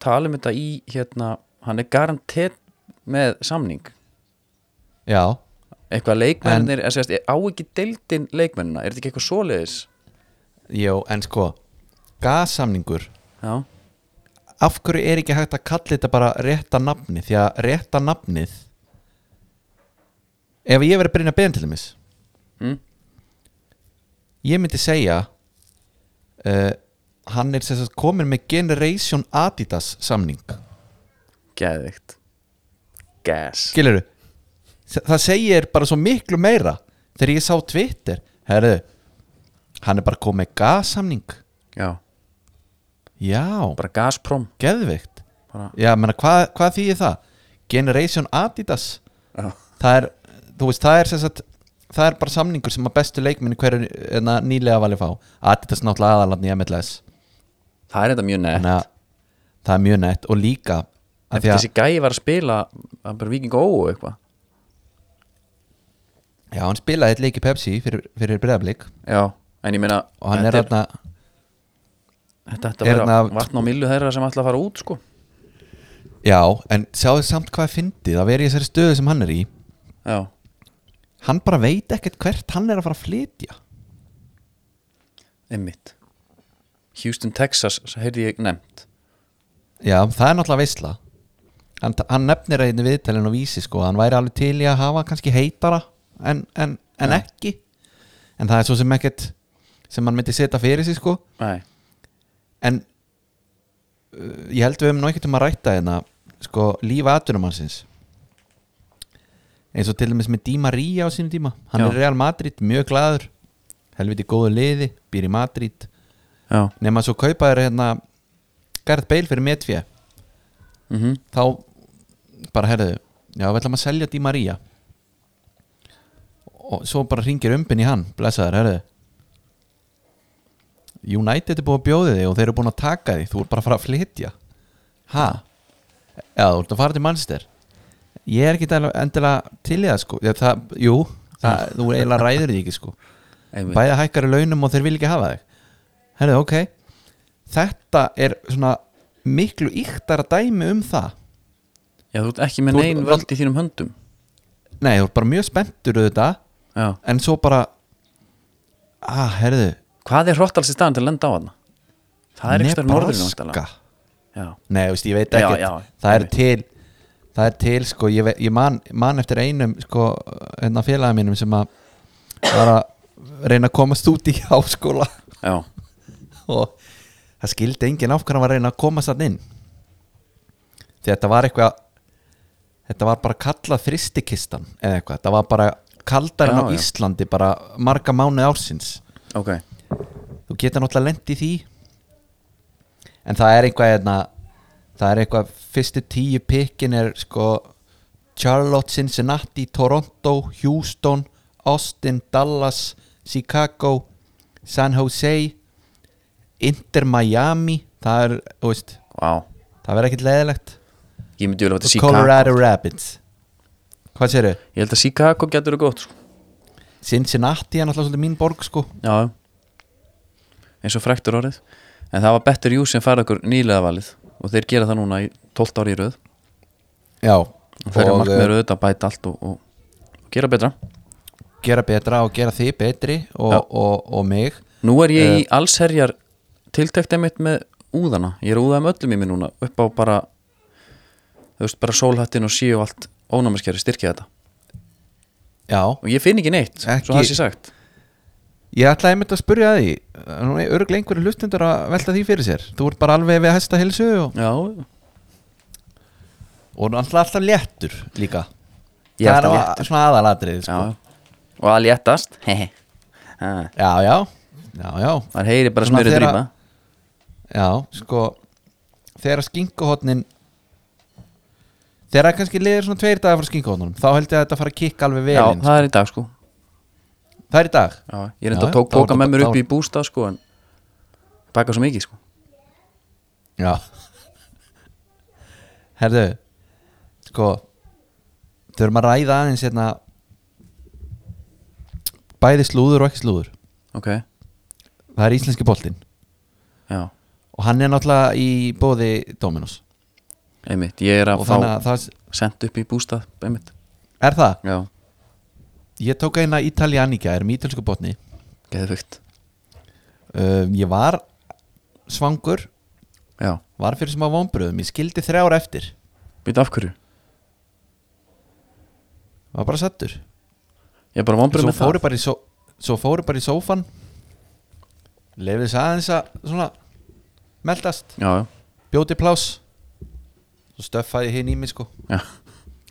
[SPEAKER 2] tala um þetta í hérna hann er garantert með samning
[SPEAKER 1] Já,
[SPEAKER 2] eitthvað leikmennir, en, sérst, á ekki deildin leikmennina, er þetta ekki eitthvað svoleiðis
[SPEAKER 1] jú, en sko gassamningur,
[SPEAKER 2] já,
[SPEAKER 1] af hverju er ekki hægt að kalla þetta bara rétta nafni því að rétta nafnið ef ég verið að byrja að beðin til þeimis
[SPEAKER 2] Mm.
[SPEAKER 1] ég myndi segja uh, hann er sem sagt komin með Generation Adidas samning
[SPEAKER 2] geðvikt gas,
[SPEAKER 1] skilur það segir bara svo miklu meira þegar ég sá Twitter herðu, hann er bara komið með gassamning
[SPEAKER 2] já,
[SPEAKER 1] já,
[SPEAKER 2] bara gasprom
[SPEAKER 1] geðvikt
[SPEAKER 2] Bara-
[SPEAKER 1] já, menna, hvað, hvað þýðir það? Generation Adidas
[SPEAKER 2] já,
[SPEAKER 1] það er, þú veist, það er sem sagt það er bara samningur sem að bestu leikminni hverju en að nýlega valið fá Adidas er náttúrulega aðalarni í MLS
[SPEAKER 2] það er þetta mjög nett
[SPEAKER 1] þannig að það er mjög nett og líka af
[SPEAKER 2] ef
[SPEAKER 1] því að,
[SPEAKER 2] þessi gæi var að spila að bara viking ó og eitthvað
[SPEAKER 1] já, hann spilaði eitt leik í Pepsi fyrir, fyrir breyðablík
[SPEAKER 2] já, en ég meina
[SPEAKER 1] og hann er
[SPEAKER 2] þetta,
[SPEAKER 1] þarna
[SPEAKER 2] þetta, þetta
[SPEAKER 1] er
[SPEAKER 2] er
[SPEAKER 1] þarna-
[SPEAKER 2] vatn á millu þeirra sem ætla að fara út sko
[SPEAKER 1] Já, en sjáðu samt hvað fyndið að vera í þessari stöðu sem hann er í
[SPEAKER 2] já,
[SPEAKER 1] hann bara veit ekkert hvert hann er að fara að flytja
[SPEAKER 2] einmitt Houston, Texas, svo heyrði ég nefnt
[SPEAKER 1] Já, það er náttúrulega veisla hann, hann nefnir einni viðtælinn og vísi sko, að hann væri alveg til í að hafa kannski heitara en, en, en ekki en það er svo sem ekkert sem hann myndi setja fyrir sig sko
[SPEAKER 2] nei,
[SPEAKER 1] en uh, ég held við hefum nú ekkert um að rætta hérna sko lífa atvinnumannsins eins og til dæmis með Díma Ría á sínum tíma hann
[SPEAKER 2] Já.
[SPEAKER 1] er Real Madrid, mjög glaður helviti góðu liði, býr í Madrid
[SPEAKER 2] já,
[SPEAKER 1] nema svo kaupa þér hérna Garð Beil fyrir Medfjö
[SPEAKER 2] mhm
[SPEAKER 1] þá bara herðu já, við ætlum að selja Díma Ría og svo bara ringir umbin í hann, blessaður, herðu United er búið að bjóði þig og þeir eru búin að taka þig þú er bara að fara að flytja ha, já, þú ert að fara til Manchester ég er ekki dæla- endilega til í það sko, ég, það, jú það, þú eiginlega ræður því ekki sko
[SPEAKER 2] Einmitt.
[SPEAKER 1] bæða hækkar í launum og þeir vil ekki hafa þig herðu, ok þetta er svona miklu yktara dæmi um það
[SPEAKER 2] Já, þú ert ekki með
[SPEAKER 1] Þú-
[SPEAKER 2] neyn völd í þínum höndum
[SPEAKER 1] Nei, þú ert bara mjög spenntur auðvitað
[SPEAKER 2] Já,
[SPEAKER 1] En svo bara Ah, herðu
[SPEAKER 2] hvað er hrottalsi staðan til að lenda á hana? Það er ekki stöður norðurinn væntanlega.
[SPEAKER 1] Nebraska.
[SPEAKER 2] Já,
[SPEAKER 1] Nei, þú veist, ég veit
[SPEAKER 2] Já,
[SPEAKER 1] ekki
[SPEAKER 2] já,
[SPEAKER 1] Það er
[SPEAKER 2] einmitt.
[SPEAKER 1] til Það er til, sko Ég, ve- ég man, man eftir einum, sko Hérna félaga mínum sem að Var að reyna að komast út í háskóla
[SPEAKER 2] já,
[SPEAKER 1] (laughs) Og það skildi enginn af hvernig hann var að reyna að komast þann inn Því þetta var eitthvað Þetta var bara kallað þristikistan eða eitthvað, þetta var bara kaldar en
[SPEAKER 2] Já,
[SPEAKER 1] á
[SPEAKER 2] já.
[SPEAKER 1] Íslandi bara marga mánuði ársins
[SPEAKER 2] ok
[SPEAKER 1] þú getur náttúrulega lent í því en það er eitthvað hérna, það er eitthvað fyrstu tíu pikkin er sko Charlotte, Cincinnati, Toronto Houston, Austin Dallas, Chicago San Jose Inter Miami það er, þú veist,
[SPEAKER 2] Vá,
[SPEAKER 1] það verður ekkert leðilegt
[SPEAKER 2] ég myndi vel að þetta Chicago
[SPEAKER 1] Colorado Rapids hvað séru?
[SPEAKER 2] Ég held að Chicago getur það gott sko.
[SPEAKER 1] Cincinnati er náttúrulega svolítið mín borg sko
[SPEAKER 2] Já, já. eins og frektur orðið En það var Better You sem færði okkur nýlega valið og þeir gera það núna í 12 ári í röð
[SPEAKER 1] já
[SPEAKER 2] og þeir eru
[SPEAKER 1] og, eh,
[SPEAKER 2] markmið röð að bæta allt og, og, og gera betra
[SPEAKER 1] gera betra og gera þig betri og,
[SPEAKER 2] Já.
[SPEAKER 1] og, og, mig
[SPEAKER 2] Nú er ég
[SPEAKER 1] Eh.
[SPEAKER 2] í allsherjar tiltækt einmitt með úðana Ég er að úða um öllum í mig núna upp á bara þú veist, bara sólhattin og síu og allt ónámiskeri styrkja þetta
[SPEAKER 1] já,
[SPEAKER 2] og ég finn ekki neitt,
[SPEAKER 1] Ekki-
[SPEAKER 2] svo það sé sagt
[SPEAKER 1] ég ætlaði einmitt að spurja að því nú er örglega einhverju hlustendur að velta því fyrir sér þú ert bara alveg við hæsta hilsu og,
[SPEAKER 2] Já,
[SPEAKER 1] og náttúrulega alltaf léttur líka
[SPEAKER 2] Ég er
[SPEAKER 1] það er
[SPEAKER 2] alltaf
[SPEAKER 1] að- svona aðalatrið
[SPEAKER 2] já
[SPEAKER 1] sko.
[SPEAKER 2] og að léttast (laughs) hehe. Ha,
[SPEAKER 1] já, já, já, já
[SPEAKER 2] maður heyri bara
[SPEAKER 1] Svona
[SPEAKER 2] smurið
[SPEAKER 1] þegar-
[SPEAKER 2] drýpa
[SPEAKER 1] já, sko þegar að skinkuhotnin þegar að kannski liðir svona tveir dagar frá skinkuhotnunum þá held ég að þetta fara að kikka alveg vel
[SPEAKER 2] Já,
[SPEAKER 1] inn, sko.
[SPEAKER 2] það er í dag sko
[SPEAKER 1] það er í dag
[SPEAKER 2] já, Ég er
[SPEAKER 1] Já,
[SPEAKER 2] enda tók
[SPEAKER 1] þá var
[SPEAKER 2] bóka
[SPEAKER 1] þetta-
[SPEAKER 2] með mér
[SPEAKER 1] þá
[SPEAKER 2] upp í bústað sko en baka svo mikið sko
[SPEAKER 1] Já Herðu Sko Þurfum að ræða aðeins hérna Bæði slúður og ekki slúður
[SPEAKER 2] Ok,
[SPEAKER 1] Það er íslenski boltinn
[SPEAKER 2] já,
[SPEAKER 1] Og hann er náttúrulega í bóði Dominos
[SPEAKER 2] einmitt Ég er
[SPEAKER 1] Og
[SPEAKER 2] að fá
[SPEAKER 1] þannig að það
[SPEAKER 2] sendt upp í bústað einmitt,
[SPEAKER 1] Er það?
[SPEAKER 2] já,
[SPEAKER 1] Ég tók eina Italianika Er um ítalsku botni
[SPEAKER 2] geðið fyrkt
[SPEAKER 1] um, Ég var svangur
[SPEAKER 2] Já,
[SPEAKER 1] Var fyrir sem á vombröðum Ég skildi þrjár eftir
[SPEAKER 2] býta af hverju
[SPEAKER 1] Var bara sattur
[SPEAKER 2] Ég er bara vonbrið
[SPEAKER 1] svo
[SPEAKER 2] með það
[SPEAKER 1] fóru bara í, so svo fóru bara í sófan lefið þess aðeins að svona meldast,
[SPEAKER 2] Já, já,
[SPEAKER 1] bjóti plás svo stöffaði hinn í mig sko
[SPEAKER 2] já,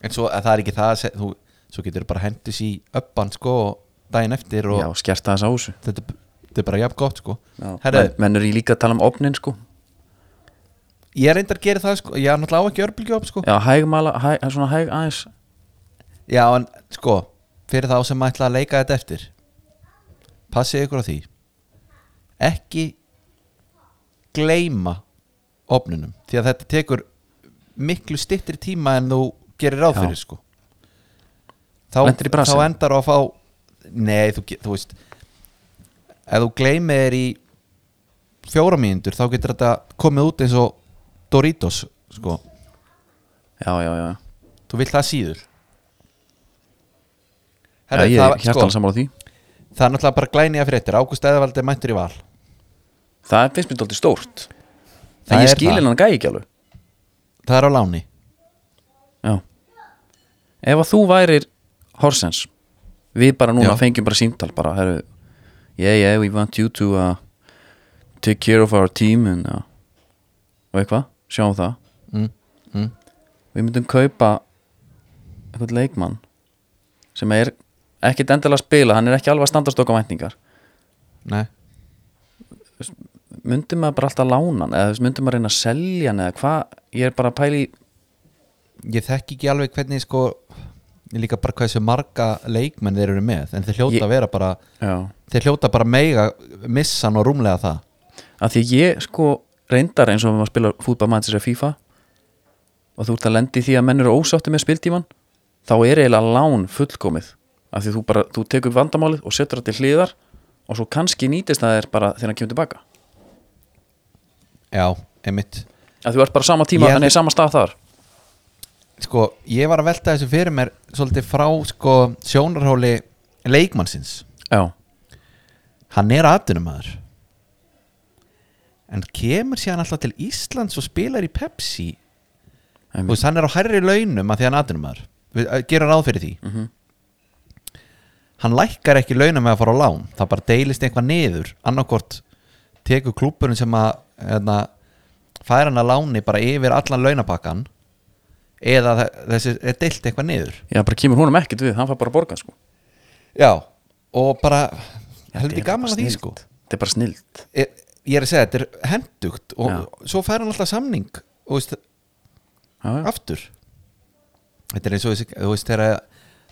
[SPEAKER 1] en svo að það er ekki það að se- þú, svo getur bara hendis í uppan sko og daginn eftir og
[SPEAKER 2] já skerta þess á þessu
[SPEAKER 1] þetta, þetta er bara jafn gott sko
[SPEAKER 2] Herre,
[SPEAKER 1] Herre,
[SPEAKER 2] Menn eru í líka að tala um opnin sko
[SPEAKER 1] ég reyndar að gera það sko ég er náttúrulega á ekki örbylgju upp sko
[SPEAKER 2] Já, hægmala, hæg, svona hæg aðeins
[SPEAKER 1] já en sko, fyrir þá sem ætla að leika þetta eftir passið ykkur á því ekki gleyma opnunum því að þetta tekur miklu stittri tíma en þú gerir ráð
[SPEAKER 2] Já.
[SPEAKER 1] fyrir sko þá,
[SPEAKER 2] Lentir í brasi?
[SPEAKER 1] þá endar á að fá nei þú, ge- þú veist ef þú gleymið er í fjóra mínútur þá getur þetta komið út eins og Doritos sko
[SPEAKER 2] Já, já, já,
[SPEAKER 1] þú vilt það síður
[SPEAKER 2] já
[SPEAKER 1] Herra,
[SPEAKER 2] Ég
[SPEAKER 1] það,
[SPEAKER 2] er hjartalega
[SPEAKER 1] sko,
[SPEAKER 2] sammála því
[SPEAKER 1] það er náttúrulega bara glænýja fréttir Ágúst Eðvald er mættur í val
[SPEAKER 2] Það finnst mér dálítið stórt
[SPEAKER 1] Það
[SPEAKER 2] En ég
[SPEAKER 1] er
[SPEAKER 2] skilin
[SPEAKER 1] það.
[SPEAKER 2] hann gæi ekki alveg
[SPEAKER 1] það er á láni
[SPEAKER 2] Já Ef að þú værir Horsens Við bara núna
[SPEAKER 1] Já.
[SPEAKER 2] fengjum bara síntal bara heru, Yeah, yeah, we want you to uh, take care of our team and, uh, og eitthvað, sjáum það
[SPEAKER 1] Mm, mm.
[SPEAKER 2] við myndum kaupa eitthvað leikmann sem er ekkit endilega að spila hann er ekki alveg að standast okkar væntingar
[SPEAKER 1] Nei,
[SPEAKER 2] myndum maður bara alltaf lána hann eða þú veist, myndum maður reyna að selja hann eða hvað, ég er bara að pæli
[SPEAKER 1] ég þekki ekki alveg hvernig sko ég líka bara hversu marga leikmenn þeir eru með en þeir hljóta
[SPEAKER 2] Ég-
[SPEAKER 1] að vera bara
[SPEAKER 2] já.
[SPEAKER 1] þeir hljóta bara mega missan og rúmlega það
[SPEAKER 2] að því að ég sko reyndar eins og við maður spila fútball mannsins að FIFA og þú ert að lendi því að menn eru ósátti með spiltíman þá er eiginlega lán fullkomið af því þú bara, þú tekur vandamálið og setur það til hliðar og svo kannski nýtist það er bara þegar hann kemur tilbaka
[SPEAKER 1] Já, einmitt
[SPEAKER 2] að þú ert bara á sama tíma,
[SPEAKER 1] Ég
[SPEAKER 2] hann er sama stað þar
[SPEAKER 1] Sko, ég var að velta þessu fyrir mér svolítið frá sko sjónarhóli leikmannsins
[SPEAKER 2] já,
[SPEAKER 1] Hann er atvinnumæður en kemur síðan alltaf til Íslands og spilar í Pepsi Þú
[SPEAKER 2] einmitt,
[SPEAKER 1] veist, hann er á hærri launum að því hann atvinnumæður Við að gera ráð fyrir því
[SPEAKER 2] Mhm.
[SPEAKER 1] Hann lækkar ekki launum með að fara á lán Það bara deilist eitthvað niður annarkvort tekur klúburinn sem að hérna, fær hann að láni bara yfir allan launapakkan eða þe- þessi er deilt eitthvað niður
[SPEAKER 2] já, bara kemur húnum ekkert við hann fær bara að borga sko
[SPEAKER 1] Já, og bara heldur
[SPEAKER 2] Þetta er
[SPEAKER 1] gaman
[SPEAKER 2] bara
[SPEAKER 1] að því
[SPEAKER 2] snilld.
[SPEAKER 1] sko
[SPEAKER 2] þetta er bara snilt
[SPEAKER 1] ég, e, ég er að segja, þetta er hendugt og
[SPEAKER 2] Já.
[SPEAKER 1] svo fær hann alltaf samning og veist, aftur þetta er eins og þessi, þú veist þegar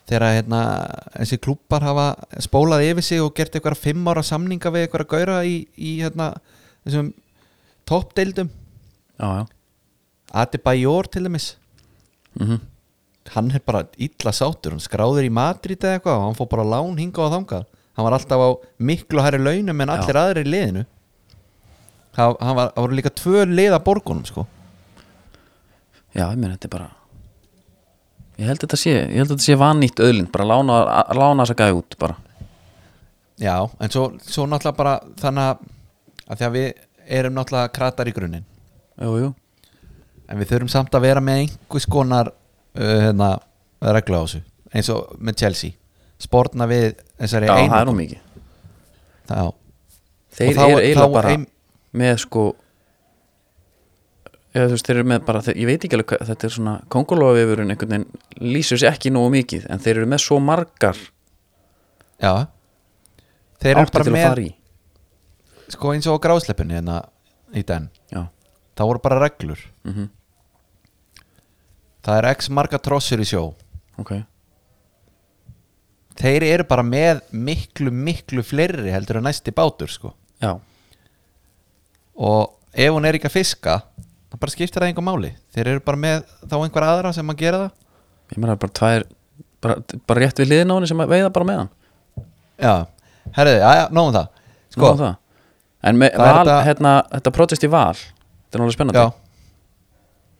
[SPEAKER 1] þegar hérna, þessi klúpar hafa spólað yfir sig og gert eitthvað fimm ára samninga við eitthvað að gaura í, í hérna, þessum toppdeildum
[SPEAKER 2] já, já,
[SPEAKER 1] Adebayor til dæmis
[SPEAKER 2] mm
[SPEAKER 1] hann er bara illa sátur, hann skráður í Madrid eða eitthvað og hann fór bara á lán hinga og þangað hann var alltaf á miklu hærri launum en allir aðrir í liðinu það hann var, það voru líka tvö liða borgunum sko.
[SPEAKER 2] Já, ég meina þetta er bara Ég held að þetta sé, ég held að þetta sé vannýtt öðlind bara lána, að- lána þess að gæja út bara
[SPEAKER 1] já, en svo, svo náttúrulega bara þannig að, að því að við erum náttúrulega kratar í grunninn
[SPEAKER 2] Jú, jú
[SPEAKER 1] en við þurfum samt að vera með einhvers konar uh, hérna, regla á þessu eins og með Chelsea spórna við þessari
[SPEAKER 2] Já, það er
[SPEAKER 1] einu
[SPEAKER 2] nú mikið
[SPEAKER 1] já,
[SPEAKER 2] Þeir
[SPEAKER 1] þá-
[SPEAKER 2] eru eiginlega
[SPEAKER 1] þá
[SPEAKER 2] bara
[SPEAKER 1] ein-
[SPEAKER 2] með sko Já, þú veist, þeir eru með bara, þeir, ég veit ekki alveg hvað, þetta er svona kongulofavefurinn einhvern veginn lýsir sér ekki nógu mikið en þeir eru með svo margar
[SPEAKER 1] já. þeir eru
[SPEAKER 2] áttir
[SPEAKER 1] bara
[SPEAKER 2] til að
[SPEAKER 1] með
[SPEAKER 2] fara í
[SPEAKER 1] sko eins og á grásleppinni hérna í den,
[SPEAKER 2] Já,
[SPEAKER 1] það voru bara reglur
[SPEAKER 2] mhm,
[SPEAKER 1] það er x marga trossur í sjó
[SPEAKER 2] ok
[SPEAKER 1] þeir eru bara með miklu miklu fleiri heldur en næsti bátur sko
[SPEAKER 2] Já,
[SPEAKER 1] og ef hún er ekki að fiska það bara skiptir það einhver máli þeir eru bara með þá einhver aðra sem að gera
[SPEAKER 2] ég meina bara tvær bara, bara rétt við hliðin á henni sem að veiða bara með hann
[SPEAKER 1] það já, herriði, já, já, nógum það sko,
[SPEAKER 2] Nú, um það. En með,
[SPEAKER 1] Það er
[SPEAKER 2] val,
[SPEAKER 1] þetta-
[SPEAKER 2] hérna, þetta protest í val Þetta er náttúrulega spennandi
[SPEAKER 1] já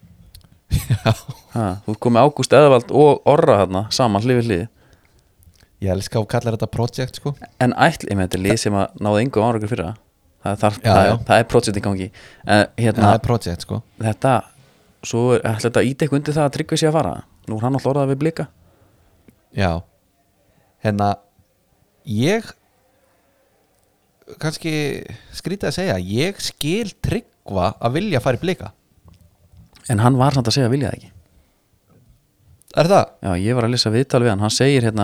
[SPEAKER 1] (laughs) já,
[SPEAKER 2] Ha, þú ert komið Ágúst Eðvald og Orra þarna saman hlifið hlið
[SPEAKER 1] ég elska að kalla þetta project sko
[SPEAKER 2] en ætl, ég með þetta er lið sem að náði yngu árangur fyrir það það, þarf,
[SPEAKER 1] Já,
[SPEAKER 2] það,
[SPEAKER 1] já.
[SPEAKER 2] Er, það er project í gangi en, hérna,
[SPEAKER 1] það er project sko
[SPEAKER 2] þetta svo er ætla þetta íti eitthvað undir það að tryggvi sé að fara nú er hann alltaf orðað við blika
[SPEAKER 1] Já Hérna Ég kannski skrítið að segja ég skil tryggva að vilja fara í blika
[SPEAKER 2] en hann var samt að segja að vilja það ekki
[SPEAKER 1] Er það?
[SPEAKER 2] Já, ég var að lesa viðtal við hann, hann segir hérna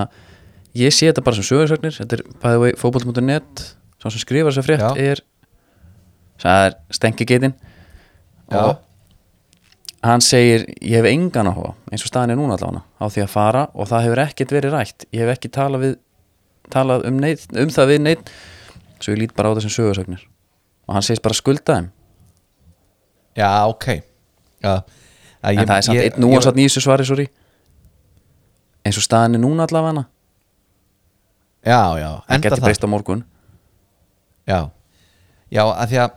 [SPEAKER 2] ég sé þetta bara sem sögursögnir þetta er by the way, fótboll.net sá sem skrifar þessa frétt
[SPEAKER 1] Já.
[SPEAKER 2] er það er stengigeitin og hann segir ég hef engan áhuga, eins og staðan er núna allavega á því að fara og það hefur ekkert verið rætt ég hef ekki talað, við, talað um, neitt, um það við neitt svo ég lít bara á það sem sögursögnir og hann segist bara skulda þeim
[SPEAKER 1] Já, ok Já Að
[SPEAKER 2] en
[SPEAKER 1] ég-
[SPEAKER 2] það er samt
[SPEAKER 1] ég-
[SPEAKER 2] einn nú
[SPEAKER 1] ég-
[SPEAKER 2] og satt nýjustu svari sorry. eins og staðan er núna allavega
[SPEAKER 1] Já, já,
[SPEAKER 2] hann
[SPEAKER 1] enda
[SPEAKER 2] getur
[SPEAKER 1] það
[SPEAKER 2] breyst á morgun
[SPEAKER 1] Já, já, að því að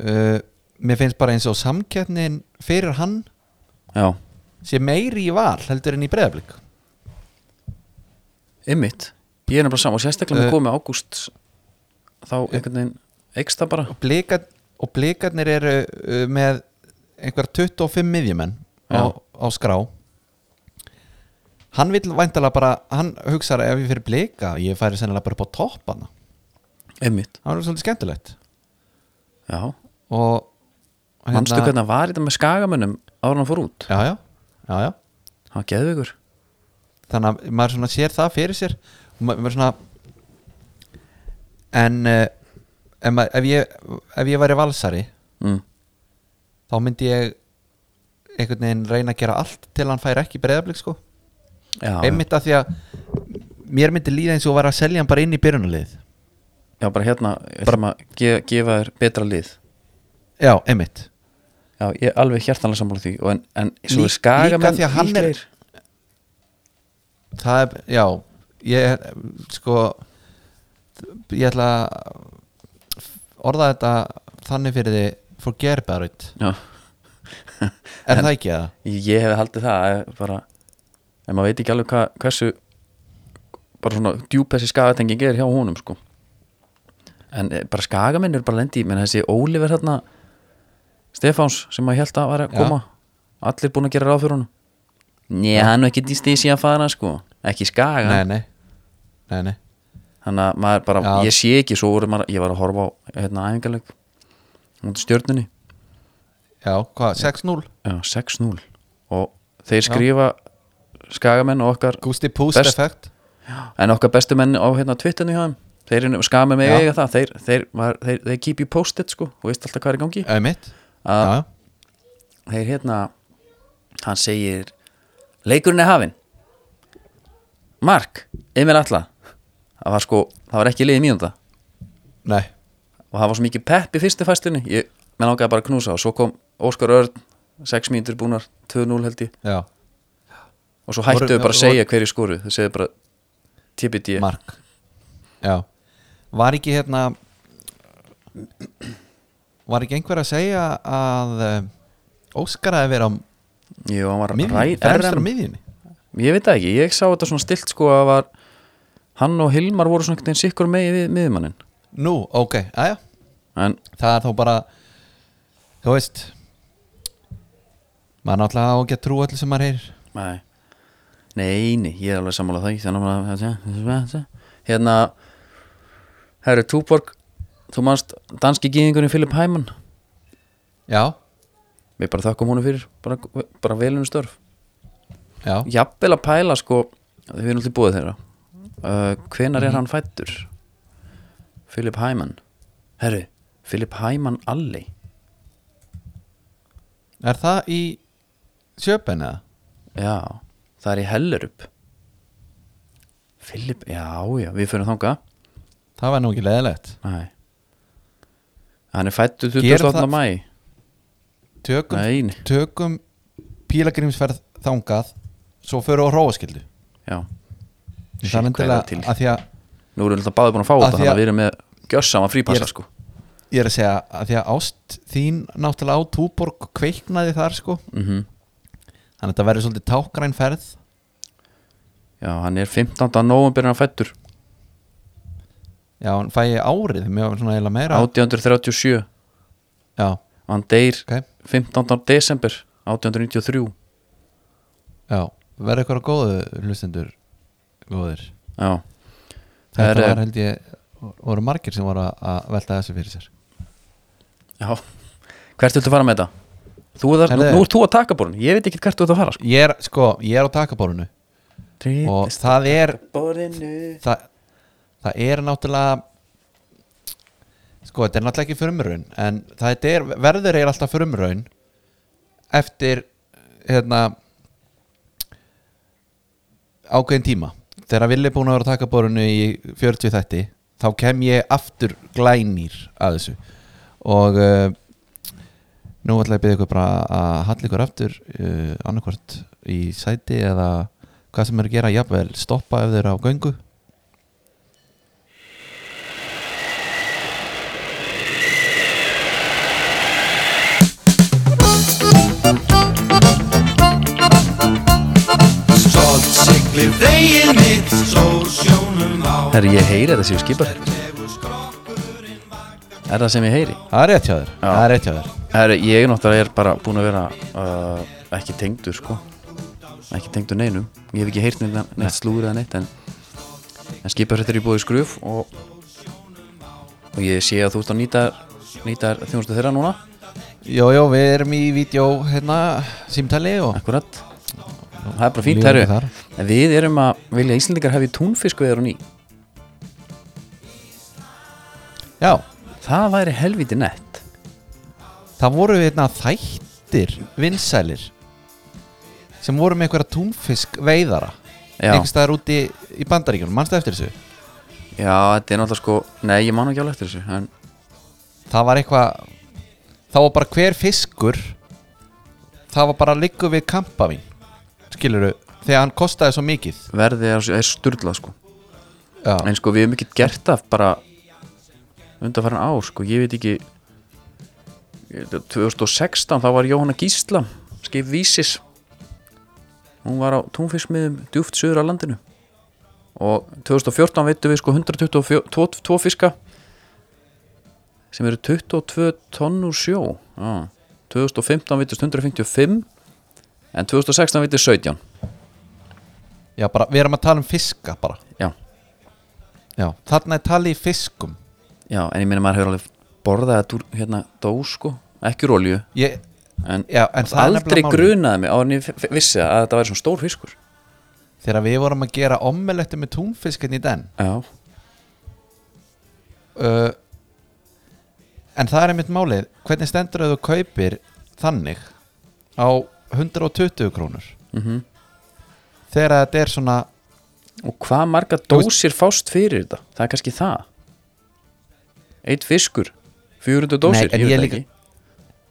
[SPEAKER 1] uh, Mér finnst bara eins og samkeppnin fyrir hann
[SPEAKER 2] Já,
[SPEAKER 1] sé meiri í val heldur en í breyðablík
[SPEAKER 2] Einmitt, ég er nefnilega saman og sérstaklega með
[SPEAKER 1] Eh.
[SPEAKER 2] komið ágúst þá einhvern veginn ekst það bara
[SPEAKER 1] og, blika, og blikarnir eru uh, með einhver 25 miðjumenn á,
[SPEAKER 2] Já.
[SPEAKER 1] á skrá hann vill væntalega bara hann hugsar ef ég fyrir blika ég færi sennilega bara upp á toppana
[SPEAKER 2] einmitt,
[SPEAKER 1] það var svolítið skemmtilegt
[SPEAKER 2] já
[SPEAKER 1] og og
[SPEAKER 2] Manstu hvernig það var í þetta með skagamönnum ára hann fór út?
[SPEAKER 1] já, já, já, já.
[SPEAKER 2] Hann geðu ykkur
[SPEAKER 1] þannig að maður svona sér það fyrir sér og ma- maður svona en uh, ef, maður, ef, ég, ef ég væri valsari
[SPEAKER 2] mm.
[SPEAKER 1] þá myndi ég einhvern veginn reyna að gera allt til hann fær ekki breyðablík sko
[SPEAKER 2] Já,
[SPEAKER 1] einmitt af því að mér myndi líða eins og vera að selja hann bara inn í byrjunalið
[SPEAKER 2] já, bara hérna, bara að gefa, gefa þér betra lið
[SPEAKER 1] já, einmitt
[SPEAKER 2] Já, ég er alveg hjartanlega sammála því og en, en svo
[SPEAKER 1] Lí-
[SPEAKER 2] er skagamenn
[SPEAKER 1] líka því að hann er-
[SPEAKER 2] líklegir.
[SPEAKER 1] það er, já ég, sko ég ætla að orða þetta þannig fyrir því forget about it,
[SPEAKER 2] Já,
[SPEAKER 1] er það ekki það?
[SPEAKER 2] ég hef haldið það að bara, en maður veit ekki alveg hva, hversu bara svona djúp þessi skagatenging er hjá honum sko en eh, bara skagamenn eru bara lendi menn þessi Oliver hérna Stefáns sem maður held að var að
[SPEAKER 1] Já.
[SPEAKER 2] koma allir búin að gera ráð fyrir honum Nei, hann er ekki í stísi að fara sko ekki í skaga
[SPEAKER 1] nei, nei, nei, nei.
[SPEAKER 2] þannig að maður bara,
[SPEAKER 1] Já.
[SPEAKER 2] ég sé ekki svo voru maður, ég var að horfa á hérna æfingarleik mútið stjörnunni
[SPEAKER 1] já, hvað, 6-0
[SPEAKER 2] Já, 6-0 og þeir skrifa skagamenn og okkar
[SPEAKER 1] Gusti Púst
[SPEAKER 2] Best-
[SPEAKER 1] effekt
[SPEAKER 2] en okkar bestu menn á hérna Twitterinu hjá þeim þeir eru skamið mig
[SPEAKER 1] Já.
[SPEAKER 2] eiga það þeir, þeir, var, þeir, þeir keep you posted sko og veist alltaf hvað er í gangi
[SPEAKER 1] einmitt, já,
[SPEAKER 2] að
[SPEAKER 1] já,
[SPEAKER 2] þeir hérna hann segir leikurinn er hafinn Mark, Emil Alla það var sko, það var ekki liðið mínúnda
[SPEAKER 1] nei
[SPEAKER 2] og það var svo mikið pepp í fyrstu fæstunni ég menn ákveða bara að knúsa og svo kom Óskar Örn 6 mínútur búnar 2-0 held ég
[SPEAKER 1] já,
[SPEAKER 2] og svo hættu
[SPEAKER 1] Voru-
[SPEAKER 2] við bara að
[SPEAKER 1] voru-
[SPEAKER 2] segja hverju skoru þau segðu bara TBD
[SPEAKER 1] mark já, var ekki hérna var ekki einhver að segja að eh, Óskar að vera á
[SPEAKER 2] Jú, hann var
[SPEAKER 1] miðjunni,
[SPEAKER 2] ræ-
[SPEAKER 1] fremstur á
[SPEAKER 2] RM.
[SPEAKER 1] miðjunni
[SPEAKER 2] ég veit það ekki, ég sá þetta svona stilt sko að var hann og Hilmar voru svona einhvern veginn sikkur megi við miðmannin
[SPEAKER 1] nú, ok, aðja
[SPEAKER 2] en
[SPEAKER 1] það er þá bara þú veist maður náttúrulega á ekki að trú öllu sem maður heyrir
[SPEAKER 2] nei, nei, nei ég er alveg sammála það þannig að maður- hérna herru Túborg þú manst danski gýðingunni Filip Hæmann
[SPEAKER 1] já,
[SPEAKER 2] við bara þakkum honum fyrir bara, bara velunum störf
[SPEAKER 1] já,
[SPEAKER 2] jafnvel að pæla sko við erum alltaf búið þeirra uh, hvenar
[SPEAKER 1] Mhm.
[SPEAKER 2] er hann fættur Philip Hyman herru, Philip Hyman Alley
[SPEAKER 1] er það í sjöpen eða?
[SPEAKER 2] já, það er í Hellerup Philip, já já við fyrir þanga
[SPEAKER 1] það var nú ekki leðilegt
[SPEAKER 2] Nei. hann er fættur
[SPEAKER 1] Gerum
[SPEAKER 2] 28.
[SPEAKER 1] það-
[SPEAKER 2] mæ
[SPEAKER 1] tökum,
[SPEAKER 2] Nei, nei.
[SPEAKER 1] tökum pílagrimsferð þangað svo förum við á hróaskildu
[SPEAKER 2] já Shit,
[SPEAKER 1] það er
[SPEAKER 2] hvað er
[SPEAKER 1] endilega
[SPEAKER 2] það til?
[SPEAKER 1] að því að
[SPEAKER 2] nú erum við alltaf báði búin að
[SPEAKER 1] Af
[SPEAKER 2] fá
[SPEAKER 1] því
[SPEAKER 2] þetta þannig
[SPEAKER 1] að-
[SPEAKER 2] að við erum með gjössama frípassa
[SPEAKER 1] Ég-
[SPEAKER 2] sko
[SPEAKER 1] ég er að segja að því að ást þín náttúrulega á túborg kveiknaði þar sko
[SPEAKER 2] mm
[SPEAKER 1] þannig að þetta verður svolítið tákgræn ferð
[SPEAKER 2] já, hann er 15. november hann fættur
[SPEAKER 1] já, en fæ ég árið mjög svona eiginlega meira
[SPEAKER 2] 1837
[SPEAKER 1] já,
[SPEAKER 2] og hann deyr
[SPEAKER 1] ok,
[SPEAKER 2] 15. desember 1893
[SPEAKER 1] já, verður eitthvað góðu hlustendur góðir
[SPEAKER 2] já, Það
[SPEAKER 1] þetta
[SPEAKER 2] er, eh,
[SPEAKER 1] var held ég voru margir sem voru að- að velta þessu fyrir sér
[SPEAKER 2] já. hvert viltu fara með þetta? Þú er það, nú,
[SPEAKER 1] Herðu.
[SPEAKER 2] nú ert þú að taka bórun, ég veit ekki hvert þú ert að fara sko.
[SPEAKER 1] ég er, sko, ég er á takaborinu og það er
[SPEAKER 2] Bórinu
[SPEAKER 1] það, það er náttúrulega sko, þetta er náttúrulega ekki frumraun en það er, verður er alltaf frumraun eftir hérna ákveðin tíma þegar Vili er búin að vera að taka borinu í 40 þætti, þá kem ég aftur glænýr að þessu og uh, nú ætla ég að byrja ykkur bara að halla ykkur aftur uh, annarkvort í sæti eða hvað sem er að gera, jafnvel stoppa ef þeir eru á göngu
[SPEAKER 3] Stolt siglir vegið mitt Sól sjónum á
[SPEAKER 2] Herri, ég heyri þetta séu skipar Er það sem ég heyri?
[SPEAKER 1] Það er rétt hjá þér, það er rétt hjá þér
[SPEAKER 2] Herri, ég náttúrulega er bara búin að vera uh, ekki tengdur sko ekki tengdur neinum, ég hef ekki heyrt neina- neitt slúður eða neitt en, en skipar þetta er í búið skruf og og ég sé að þú ert að nýta nýta þjónustu þeirra núna
[SPEAKER 1] Jó, jó, við erum í vídeo hérna, símtali og
[SPEAKER 2] akkurat það er bara fínt,
[SPEAKER 1] Ljúfum
[SPEAKER 2] herru
[SPEAKER 1] þar.
[SPEAKER 2] En Við erum að vilja að Íslandingar hefði túnfiskveðar og ný
[SPEAKER 1] Já,
[SPEAKER 2] Það væri helviti nett
[SPEAKER 1] það voru hérna þættir vinsælir sem voru með einhverja túnfisk veiðara
[SPEAKER 2] Já,
[SPEAKER 1] einhvers staðar úti í bandaríkjunum, mannstu eftir þessu?
[SPEAKER 2] já þetta er náttúrulega sko Nei, ég man nú ekki alveg eftir þessu en,
[SPEAKER 1] það var eitthvað það var bara hver fiskur það var bara liggu við kampavín skiluru, þegar hann kostaði svo mikið
[SPEAKER 2] Verðið er, er sturlað sko
[SPEAKER 1] já,
[SPEAKER 2] En sko, við hefum ekki gert það bara undanfæran ár sko Ég veit ekki ég- 2016, þá var Jóhanna Gísla skip Vísis Hún var á túnfiskmiðum djúft söður á landinu Og 2014 veitum við sko 122 tvo- tvo fiska sem eru 22 tonn úr sjó ah. 2015 vitist 155 en 2016 vitist 17
[SPEAKER 1] já bara, við erum að tala um fiska bara
[SPEAKER 2] já,
[SPEAKER 1] já, þarna er talið í fiskum
[SPEAKER 2] já, en ég meina maður hefur alveg borðað þetta úr hérna dós sko, ekki úr olju
[SPEAKER 1] ég,
[SPEAKER 2] en,
[SPEAKER 1] já, en það er
[SPEAKER 2] aldrei
[SPEAKER 1] nefnilega málið.
[SPEAKER 2] grunaði mig á en ég f- f- vissi að þetta væri svona stór fiskur
[SPEAKER 1] þegar við vorum að gera omeletti með túnfiskinn í den
[SPEAKER 2] já,
[SPEAKER 1] uh, en það er einmitt málið hvernig stendur að þú kaupir þannig á 120 krónur
[SPEAKER 2] Mhm.
[SPEAKER 1] þegar þetta er svona
[SPEAKER 2] og hvað marga dósir fást fyrir þetta það er kannski það eitt fiskur, 400 dósir
[SPEAKER 1] Nei, en
[SPEAKER 2] veit
[SPEAKER 1] ég
[SPEAKER 2] það
[SPEAKER 1] líka-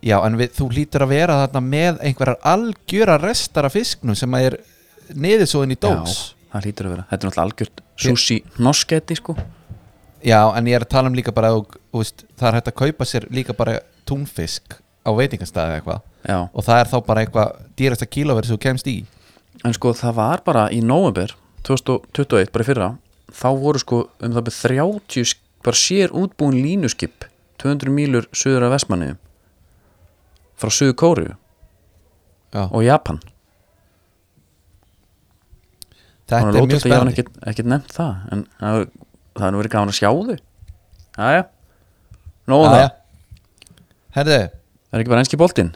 [SPEAKER 1] Já, en við, þú lítur að vera þarna með einhverjar algjöra restar af fisknum sem að er niðursóðin í dós.
[SPEAKER 2] já, það hlýtur að vera, þetta er náttúrulega algjört sushi hnosketti sko
[SPEAKER 1] Já. en ég er að tala um líka bara, þú þú veist, það er hægt að kaupa sér líka bara túnfisk á veitingastæði eða eitthvað
[SPEAKER 2] já,
[SPEAKER 1] og það er þá bara eitthvað dýrasta kílóverð sem þú kemst í.
[SPEAKER 2] En sko það var bara í november 2021, bara í fyrra þá voru sko um það byrja 30 sk- bara sér útbúin línuskip 200 mílur söður af Vestmanni frá söður Kóru
[SPEAKER 1] Já.
[SPEAKER 2] og Japan
[SPEAKER 1] Þetta
[SPEAKER 2] Hún
[SPEAKER 1] er mjög
[SPEAKER 2] lóta þetta, ég
[SPEAKER 1] spennandi.
[SPEAKER 2] hafði ekkert, ekkert nefnt það en það hefur- það er nú verið gaman að sjá þau Jæja Nóðu það,
[SPEAKER 1] Jæja. Herðu,
[SPEAKER 2] það er ekki bara enski boltinn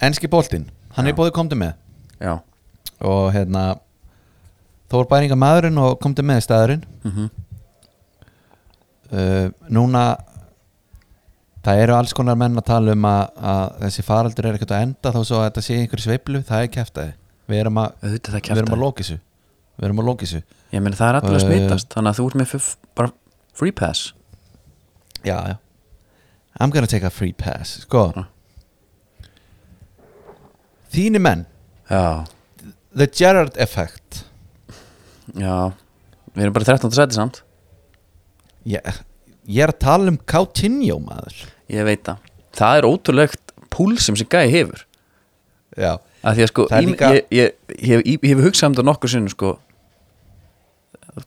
[SPEAKER 1] enski boltinn, hann er bóðið komdu með
[SPEAKER 2] Já,
[SPEAKER 1] og hérna Þór bæringa maðurinn og komdu með í staðurinn
[SPEAKER 2] mhm,
[SPEAKER 1] uh, núna það eru alls konar menn að tala um að, að þessi faraldur er ekkert að enda þá svo að þetta sé einhverju sveiflu, það er kæftæði við erum að,
[SPEAKER 2] auðvitað það
[SPEAKER 1] við erum að
[SPEAKER 2] kjæftar
[SPEAKER 1] loka þessu við erum að loka þessu
[SPEAKER 2] Ég meni það er allir að
[SPEAKER 1] Eh.
[SPEAKER 2] smitast þannig að þú ert með f- bara free pass
[SPEAKER 1] já, já I'm gonna take a free pass, sko
[SPEAKER 2] Ah.
[SPEAKER 1] þínu menn
[SPEAKER 2] Já,
[SPEAKER 1] The Gerard Effect
[SPEAKER 2] já Við erum bara í 13. sæti samt
[SPEAKER 1] ég, ég er að tala um Coutinho maður
[SPEAKER 2] Ég veit það Það er ótrúlegt púlsum sem gæði hefur
[SPEAKER 1] já,
[SPEAKER 2] að Því að sko,
[SPEAKER 1] Það er
[SPEAKER 2] í,
[SPEAKER 1] líka-
[SPEAKER 2] ég, ég, ég, hef- ég, hef hugsað um þetta nokkur sinnum sko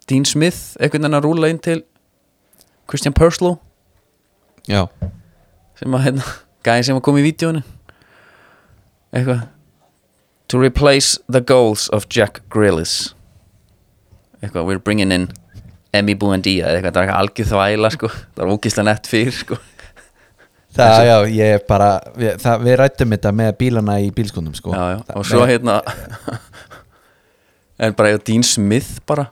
[SPEAKER 2] Dean Smith, einhvern veginn að rúla inn til Christian Perslow
[SPEAKER 1] já,
[SPEAKER 2] sem að hérna, gæði sem að koma í vídjónu eitthvað To replace the goals of Jack Grealish eitthvað, we're bringing in Emmy Buendia, eða eitthvað, það er eitthvað algjör þvæla sko, það er ógislega nett fyrir sko
[SPEAKER 1] það, já ég er bara, við, það, við rættum þetta með bílana í bílskundum sko
[SPEAKER 2] já, já. og svo hérna (laughs) en bara ég Dean Smith bara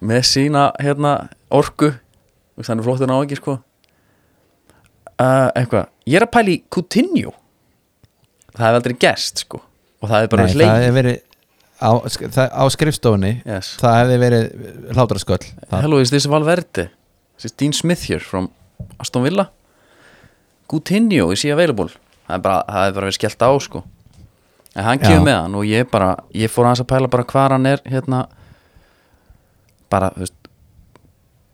[SPEAKER 2] með sína hérna orku og þannig flottur ná ekki sko uh, eitthvað, ég er að pæla í Coutinho það hefði aldrei gerst sko og það hefði bara
[SPEAKER 1] Nei,
[SPEAKER 2] hleyið
[SPEAKER 1] það hefði verið á, sk- það, á skrifstofunni
[SPEAKER 2] yes.
[SPEAKER 1] það hefði verið hlátrasköll það,
[SPEAKER 2] hello is this Valverde this is Dean Smith here from Aston Villa Coutinho is he available það er bara, það er bara verið skellt á sko en hann
[SPEAKER 1] Já.
[SPEAKER 2] kemur með hann og ég bara ég fór aðeins að pæla bara hvar hann er hérna bara þú veist,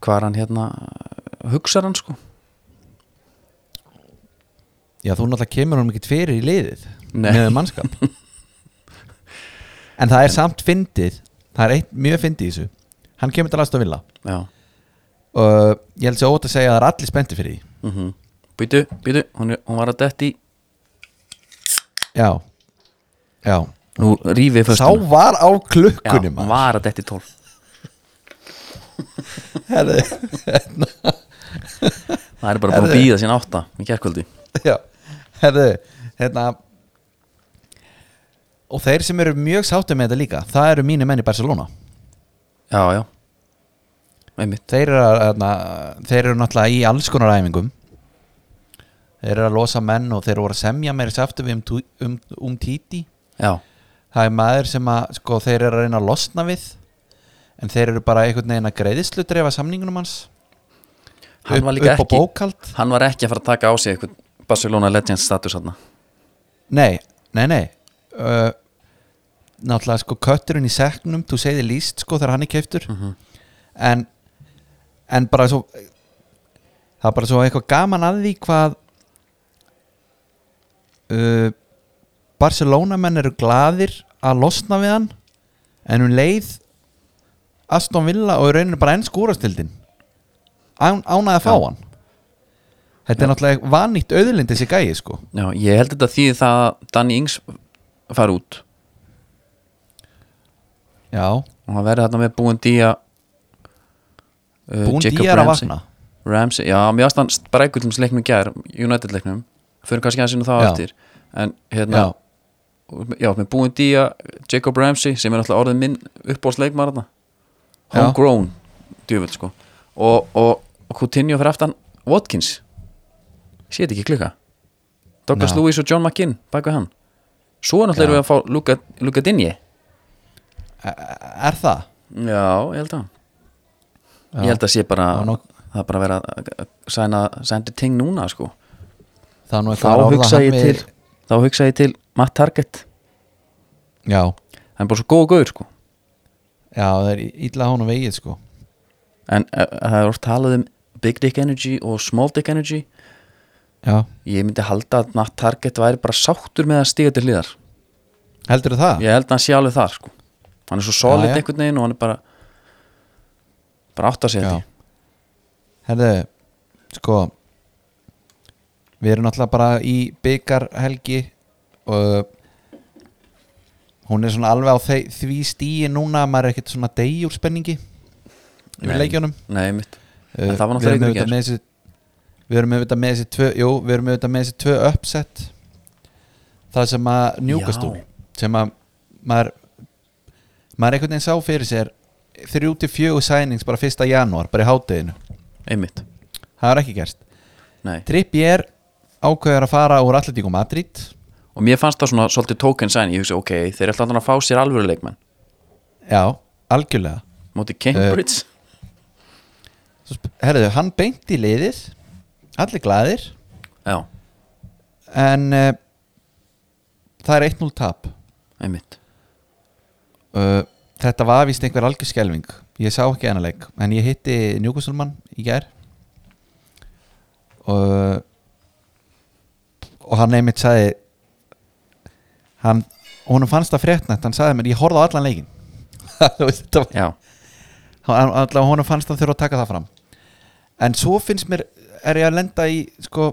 [SPEAKER 2] hvar hann hérna hugsar hann sko
[SPEAKER 1] já þú náttúrulega kemur honum ekki fyrir í liðið
[SPEAKER 2] Nei.
[SPEAKER 1] með
[SPEAKER 2] (laughs)
[SPEAKER 1] mannskap en það er samt fyndið það er eitt mjög fyndið í þessu hann kemur til aðstof vilja
[SPEAKER 2] já
[SPEAKER 1] og ég held sér ótt að segja að það er allir spennti fyrir því
[SPEAKER 2] mm -hmm. býtu, býtu, hún, er- hún var að detti í-
[SPEAKER 1] já, já
[SPEAKER 2] nú rífið
[SPEAKER 1] sá
[SPEAKER 2] föstunum
[SPEAKER 1] var á
[SPEAKER 2] já,
[SPEAKER 1] klukkunni
[SPEAKER 2] hún var að detti í tól
[SPEAKER 1] maður Herðu, hérna,
[SPEAKER 2] það er bara búin að
[SPEAKER 1] Herðu.
[SPEAKER 2] býða sín átta í gerkvöldi
[SPEAKER 1] (laughs) Já, herðu, hérna Og þeir sem eru mjög sáttum með þetta líka Það eru mínu menn í Barcelona
[SPEAKER 2] já, já, einmitt
[SPEAKER 1] Þeir eru, að, hérna, þeir eru náttúrulega í alls konar æfingum Þeir eru að losa menn og þeir voru að semja meira sáttum um, Tú- um, um Titi
[SPEAKER 2] já,
[SPEAKER 1] Það er maður sem að sko, þeir eru að reyna að losna við En þeir eru bara einhvern veginn að greiðislu drefa samningunum hans
[SPEAKER 2] Hann var
[SPEAKER 1] Upp-
[SPEAKER 2] líka
[SPEAKER 1] upp á
[SPEAKER 2] ekki-
[SPEAKER 1] bókald
[SPEAKER 2] hann var ekki að fara að taka á sig eitthvað Barcelona Legends status hann
[SPEAKER 1] Nei, nei, nei uh, Náttúrulega sko kötturinn í seknum Þú segði líst sko þegar hann er keiftur en, en bara svo Það er bara svo eitthvað gaman að því hvað uh, Barcelona menn eru gladir að losna við hann En um leið Aston Villa og í rauninu bara enn skúrastildin Án, Ánaði að fá
[SPEAKER 2] Já.
[SPEAKER 1] hann Þetta er náttúrulega vanýtt auðlind þessi gæi sko
[SPEAKER 2] já, ég held þetta því það að Danny Ings fara út
[SPEAKER 1] Já,
[SPEAKER 2] og hann verði þarna með búin dýja uh,
[SPEAKER 1] Búin
[SPEAKER 2] Jacob
[SPEAKER 1] dýjar að
[SPEAKER 2] Ramsey.
[SPEAKER 1] vakna
[SPEAKER 2] Ramsey, já, mér ást hann brækul um sleiknum gær, United leiknum fyrir kannski hans inn á það
[SPEAKER 1] Já.
[SPEAKER 2] eftir en
[SPEAKER 1] Já,
[SPEAKER 2] hérna, já, með búin dýja Jacob Ramsey, sem er alltaf orðið minn uppbólsleikmar þarna
[SPEAKER 1] Já.
[SPEAKER 2] homegrown, djöfull sko og, og, og Coutinho fyrir aftan Watkins séð ekki klukka Douglas
[SPEAKER 1] Nei.
[SPEAKER 2] Lewis og John McKinn, bak við hann svo
[SPEAKER 1] Já.
[SPEAKER 2] náttúrulega erum við að fá Luka, Luka Dinje
[SPEAKER 1] er það?
[SPEAKER 2] Já, ég held að Ég held að sé bara
[SPEAKER 1] Já, nóg-
[SPEAKER 2] Það er bara að vera að- að sæna Sændi ting núna sko
[SPEAKER 1] Það er nú
[SPEAKER 2] Þá
[SPEAKER 1] eitthvað að ráða
[SPEAKER 2] hugsa
[SPEAKER 1] hann
[SPEAKER 2] ég
[SPEAKER 1] við-
[SPEAKER 2] til Þá hugsa ég til Matt Target
[SPEAKER 1] Já,
[SPEAKER 2] Það er bara svo góð og góður sko
[SPEAKER 1] já, það er illa hún á vegið sko
[SPEAKER 2] En uh, það er oft talað um Big Dick Energy og Small Dick Energy
[SPEAKER 1] Já,
[SPEAKER 2] Ég myndi halda að Matt Target væri bara sáttur með að stíga til hliðar
[SPEAKER 1] heldur það?
[SPEAKER 2] Ég held að hann sé alveg þar sko Hann er svo solid
[SPEAKER 1] Já, já.
[SPEAKER 2] einhvern veginn og hann er bara Bara átt að segja
[SPEAKER 1] Já
[SPEAKER 2] þetta
[SPEAKER 1] Herðu, sko Við erum náttúrulega bara í byggarhelgi og hún er svona alveg á þe- því stíi núna að maður er ekkert svona degjúr spenningi yfir leikjunum
[SPEAKER 2] Nei, mitt
[SPEAKER 1] Uh,
[SPEAKER 2] En það var náttúrulega
[SPEAKER 1] við erum
[SPEAKER 2] leikur í
[SPEAKER 1] auðvitað
[SPEAKER 2] gær.
[SPEAKER 1] með þessi- Við erum auðvitað með þessi tvö Jú, við erum auðvitað með þessi tvö uppset Það sem að njúkastúl sem að maður maður einhvern veginn sá fyrir sér þrjú til fjögur sænings bara 1. janúar bara í hátteginu,
[SPEAKER 2] Einmitt
[SPEAKER 1] það er ekki gerst
[SPEAKER 2] Nei
[SPEAKER 1] Trippi er ákveður að fara úr Atletico Madrid
[SPEAKER 2] og mér fannst það svona svolítið token sign ég hugsa ok, þeir ætla alltaf að fá sér alvöru leikmenn
[SPEAKER 1] já, algjörlega
[SPEAKER 2] móti
[SPEAKER 1] Eh.
[SPEAKER 2] Cambridge
[SPEAKER 1] Svo sp- herðu, hann beint í liðið allir glæðir
[SPEAKER 2] já,
[SPEAKER 1] en uh, það er 1-0 tap
[SPEAKER 2] einmitt
[SPEAKER 1] uh, þetta var vist einhver algjör skelving ég sá ekki hennar leik en ég hitti Newcastle-mann í gær og og hann einmitt sagði hann, honum fannst það fréttnætt hann sagði mér, ég horfði á allan leikin (laughs) Þú veist, þetta var-
[SPEAKER 2] já,
[SPEAKER 1] hann- allan honum fannst það þurfa að taka það fram en svo finnst mér er ég að lenda í sko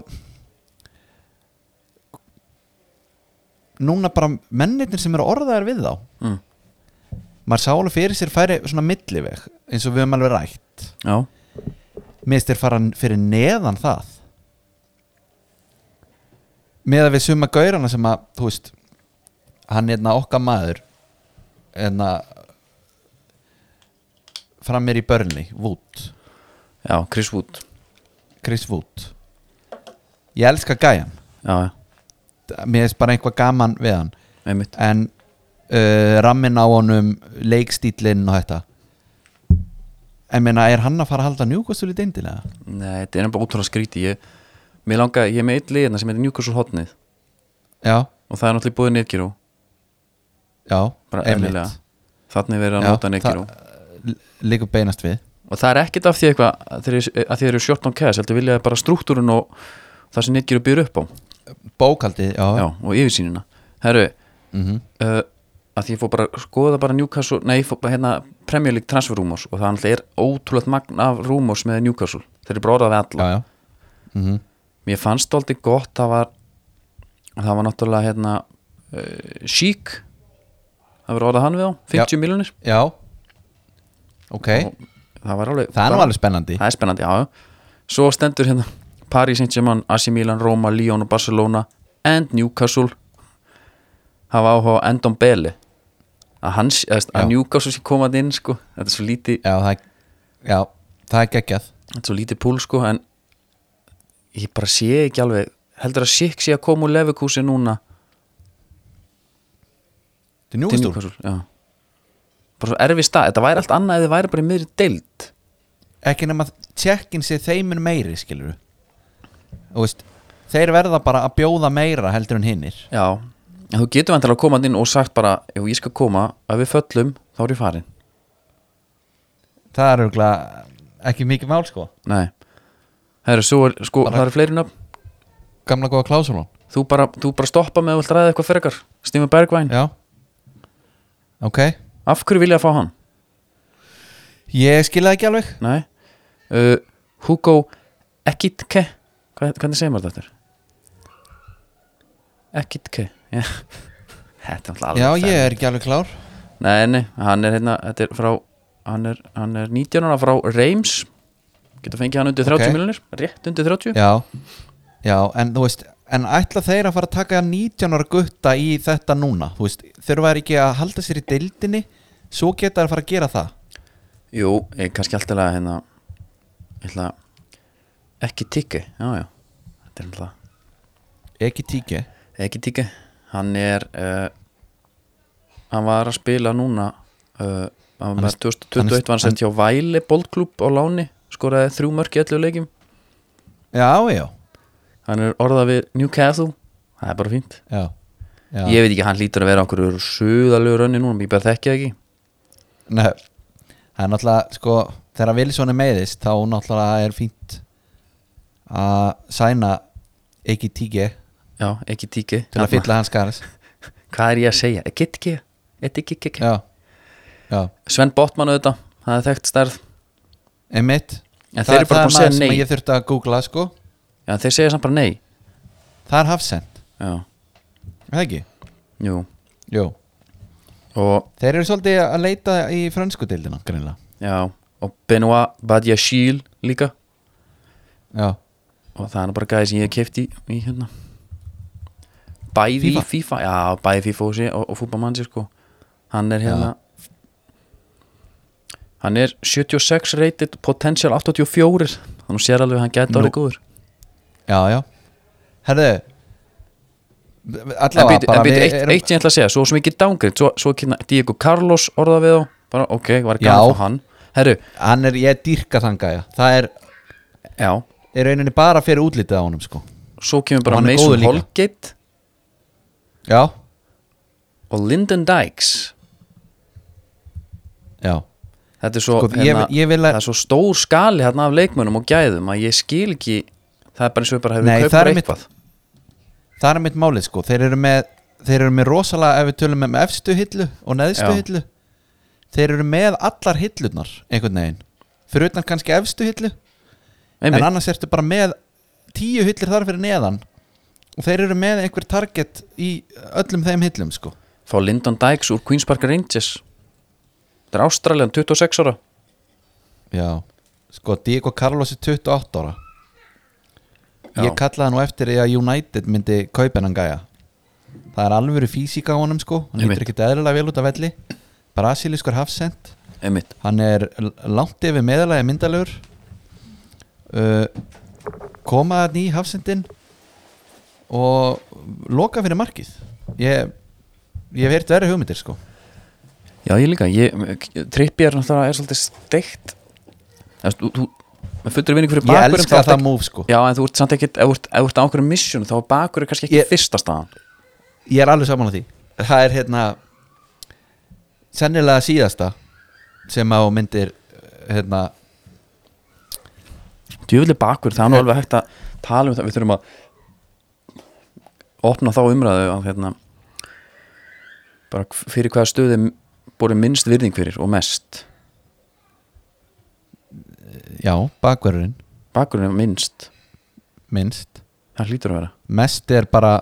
[SPEAKER 1] núna bara mennirnir sem eru orðaðar við þá
[SPEAKER 2] mm.
[SPEAKER 1] maður sá alveg fyrir sér færi svona milliveg eins og við höfum alveg rætt
[SPEAKER 2] já,
[SPEAKER 1] minnst þér fara fyrir neðan það með að við suma gaurana sem að þú veist hann er hérna okkar maður hérna fram mér í börnli, Wood
[SPEAKER 2] já, Chris Wood
[SPEAKER 1] Chris Wood ég elska gæjan
[SPEAKER 2] já, já,
[SPEAKER 1] mér er bara eitthvað gaman við hann
[SPEAKER 2] einmitt
[SPEAKER 1] en uh, rammin á honum leikstílinn og þetta en meina er hann að fara að halda njúkastul í deindilega?
[SPEAKER 2] nei, þetta er bara útrúlega skríti ég, mér langa, ég er með eitt liðna sem heitir Newcastle Hotnið
[SPEAKER 1] Já,
[SPEAKER 2] og það er náttúrulega búið Negiro
[SPEAKER 1] já,
[SPEAKER 2] bara eðlilega þannig verið að
[SPEAKER 1] Já,
[SPEAKER 2] nota Negiro
[SPEAKER 1] það- Liggur beinast við
[SPEAKER 2] og það er ekkit af því eitthvað að þeir, að þeir eru 14 kæs, heldur vilja bara struktúrun og það sem Negiro býr upp á
[SPEAKER 1] Bókaldið, já,
[SPEAKER 2] já, og yfirsýnina herru,
[SPEAKER 1] Mhm.
[SPEAKER 2] uh, að því ég fór bara að skoða bara Newcastle, nei, ég fór bara hérna Premier League transfer rumors og það alltaf er ótrúlegt magn af rumors með Newcastle þeir eru bróðað við alla
[SPEAKER 1] já, já. Mm
[SPEAKER 2] mér fannst það aldrei gott, það var það var náttúrulega hérna uh, Sheik það var orðað hann við á, 50 miljonir
[SPEAKER 1] já Ok,
[SPEAKER 2] það var alveg
[SPEAKER 1] það er nú alveg spennandi
[SPEAKER 2] það er spennandi, já, já svo stendur hérna Paris Saint-Germain, AC Milan, Roma, Lyon og Barcelona and Newcastle hafa áhuga á Endon Bele að, hans, að,
[SPEAKER 1] Já.
[SPEAKER 2] að Newcastle sé komað inn sko. þetta er svo lítið
[SPEAKER 1] já, það, já, það er geggjað
[SPEAKER 2] þetta er svo lítið púl sko en ég bara sé ekki alveg heldur að Sik sé að koma úr Leverkusen núna
[SPEAKER 1] Þetta er
[SPEAKER 2] til
[SPEAKER 1] njúkastúr
[SPEAKER 2] Newcastle já. bara svo erfi stað, þetta væri allt annað ef þið væri bara í miðri deild
[SPEAKER 1] Ekki nema tjekkin sé þeimun meiri, skilur Þú veist, þeir verða bara að bjóða meira heldur en hinnir
[SPEAKER 2] já, en þú getur vantilega að koma inn og sagt bara, ef ég skal koma ef við föllum, þá er ég farin
[SPEAKER 1] Það er auðvitað ekki mikið mál, sko
[SPEAKER 2] nei, herru, svo er sko, það eru fleiri nöfn
[SPEAKER 1] Gamla góða klásulón
[SPEAKER 2] þú bara, þú bara stoppa með að vilt ræða eitthvað frekar Stími Bergvæn,
[SPEAKER 1] Já Ok
[SPEAKER 2] af hverju vilja að fá hann?
[SPEAKER 1] Ég skil það ekki alveg
[SPEAKER 2] Nei uh, Hugo Ekitke Hvað, Hvernig segir maður þetta aftur? Ekitke Já. (laughs) Þetta er alltaf alveg
[SPEAKER 1] Já,
[SPEAKER 2] ferð.
[SPEAKER 1] ég er ekki alveg klár
[SPEAKER 2] Nei, nei, hann er hérna Þetta er frá Hann er, hann er 19 ára frá Reims Getur fengið hann undir 30
[SPEAKER 1] Ok.
[SPEAKER 2] okay. Rétt undir 30
[SPEAKER 1] Já Já, en þú veist En ætla þeir að fara að taka 19 ára gutta í þetta núna Þú veist, þurfa þeir ekki að halda sér í deildinni Svo geta þeir að fara að gera það
[SPEAKER 2] Jú, ég er kannski alltaf að hérna Ég ætla Ekitke Já, já Þetta er alltaf
[SPEAKER 1] Ekki tíki
[SPEAKER 2] ekki tíki hann er uh, hann var að spila núna uh, hann var
[SPEAKER 1] Hann er-
[SPEAKER 2] með 2021 var hann sett hjá Væli boltklúb á Láni skoraði þrjú mörk í allu leikjum
[SPEAKER 1] Já, já
[SPEAKER 2] hann er orðað við Newcastle það er bara fínt
[SPEAKER 1] Já, já.
[SPEAKER 2] ég veit ekki, hann lítur að vera okkur suðalegu rönni núna, ég bara þekki það ekki
[SPEAKER 1] Nei, það er náttúrulega sko, þegar Wilson er meiðist þá náttúrulega er fínt að sæna ekki tíki
[SPEAKER 2] já, ekki tíki
[SPEAKER 1] til að fylla hans
[SPEAKER 2] (laughs)
[SPEAKER 1] garis
[SPEAKER 2] hvað er ég að segja, get ekki get ekki, get ekki
[SPEAKER 1] Já, já,
[SPEAKER 2] Sven Botman auðvitað, það er þekkt stærð
[SPEAKER 1] einmitt
[SPEAKER 2] En þeir eru bara búin að segja
[SPEAKER 1] maður
[SPEAKER 2] nei.
[SPEAKER 1] sem ég þurfti að googla sko
[SPEAKER 2] já, þeir segja samt bara nei
[SPEAKER 1] Það er Hafsend,
[SPEAKER 2] já,
[SPEAKER 1] er það ekki?
[SPEAKER 2] jú
[SPEAKER 1] Jú
[SPEAKER 2] og
[SPEAKER 1] Þeir eru svolítið að leita í frönsku deildina greinlega
[SPEAKER 2] Já, og Benoit Badiachil líka
[SPEAKER 1] Já,
[SPEAKER 2] og það er nú bara gæði sem ég hef keft í, í hérna bæði
[SPEAKER 1] FIFA?
[SPEAKER 2] í FIFA já, bæði í FIFA og, sé- og, og fútbamansi sko hann er hérna hann er 76 rated potential 84 þannig sér alveg að hann gæti
[SPEAKER 1] Nú.
[SPEAKER 2] orðið góður
[SPEAKER 1] já, já Herðu
[SPEAKER 2] en
[SPEAKER 1] Allavega
[SPEAKER 2] býtu, en
[SPEAKER 1] bara
[SPEAKER 2] býtu
[SPEAKER 1] við
[SPEAKER 2] eitt, eitt sem ég ætla að segja svo sem ekki dángrið, svo, svo kynna Diego Carlos orða við þá, bara ok, var
[SPEAKER 1] Já.
[SPEAKER 2] gæði á hann herru,
[SPEAKER 1] Hann er, ég dýrka þanga, já Það er,
[SPEAKER 2] já,
[SPEAKER 1] er rauninni bara fyrir útlitið á honum sko
[SPEAKER 2] svo kemur
[SPEAKER 1] Og
[SPEAKER 2] bara
[SPEAKER 1] hann er góður
[SPEAKER 2] Mason
[SPEAKER 1] líka.
[SPEAKER 2] Holgate
[SPEAKER 1] Já,
[SPEAKER 2] og Lyndon Dykes
[SPEAKER 1] já
[SPEAKER 2] Þetta er svo,
[SPEAKER 1] Sko, ég-
[SPEAKER 2] hérna,
[SPEAKER 1] ég vil að-
[SPEAKER 2] það er svo stór skali hérna af leikmönum og gæðum að ég skil ekki það er bara eins og við bara hefur
[SPEAKER 1] Nei,
[SPEAKER 2] kaupað
[SPEAKER 1] það er mitt-
[SPEAKER 2] eitthvað
[SPEAKER 1] það er mitt málið sko þeir eru með, þeir eru með rosalega ef við tölum um efstu hillu og neðstu
[SPEAKER 2] Já.
[SPEAKER 1] hillu þeir eru með allar hillunar einhvern veginn, fyrir utan kannski efstu hillu en
[SPEAKER 2] Einmitt,
[SPEAKER 1] annars ertu bara með tíu hillur þar fyrir neðan og þeir eru með einhver target í öllum þeim hillum sko
[SPEAKER 2] Fá Lyndon Dykes úr Queen's Park Rangers Þetta er Ástraljan, 26 ára
[SPEAKER 1] já, sko Diego Carlos er 28 ára
[SPEAKER 2] Já.
[SPEAKER 1] ég kallaði nú eftir því að United myndi kaupin hann gæja það er alvöru físíka á honum sko hann
[SPEAKER 2] Einmitt.
[SPEAKER 1] heitir ekkit eðlilega vel út af velli brasilískur hafsend
[SPEAKER 2] Einmitt,
[SPEAKER 1] hann er l- langt yfir meðalagi myndalegur uh, koma hann í hafsendin og loka fyrir markið ég ég hef heyrt verið hugmyndir sko
[SPEAKER 2] já ég líka ég, Trippi er náttúrulega er svolítið steikt Þess, þú, þú, með fullri vinningu fyrir
[SPEAKER 1] ég
[SPEAKER 2] bakurum
[SPEAKER 1] elska það múf sko
[SPEAKER 2] Já, en þú ert samt ekkit, ef þú ert, ef þú ert á okkur mission þá er bakurinn kannski ekki
[SPEAKER 1] Ég-
[SPEAKER 2] fyrsta staðan
[SPEAKER 1] ég er alveg saman á því það er hérna sennilega síðasta sem á myndir hérna
[SPEAKER 2] Djöfulli bakur, það er nú alveg hægt að tala um það, við þurfum að opna þá umræðu að hérna bara hv- fyrir hvaða stöði búið minnst virðing fyrir og mest
[SPEAKER 1] já, bakverðurinn
[SPEAKER 2] bakurinn er minnst,
[SPEAKER 1] minnst
[SPEAKER 2] það hlýtur að vera
[SPEAKER 1] mest er bara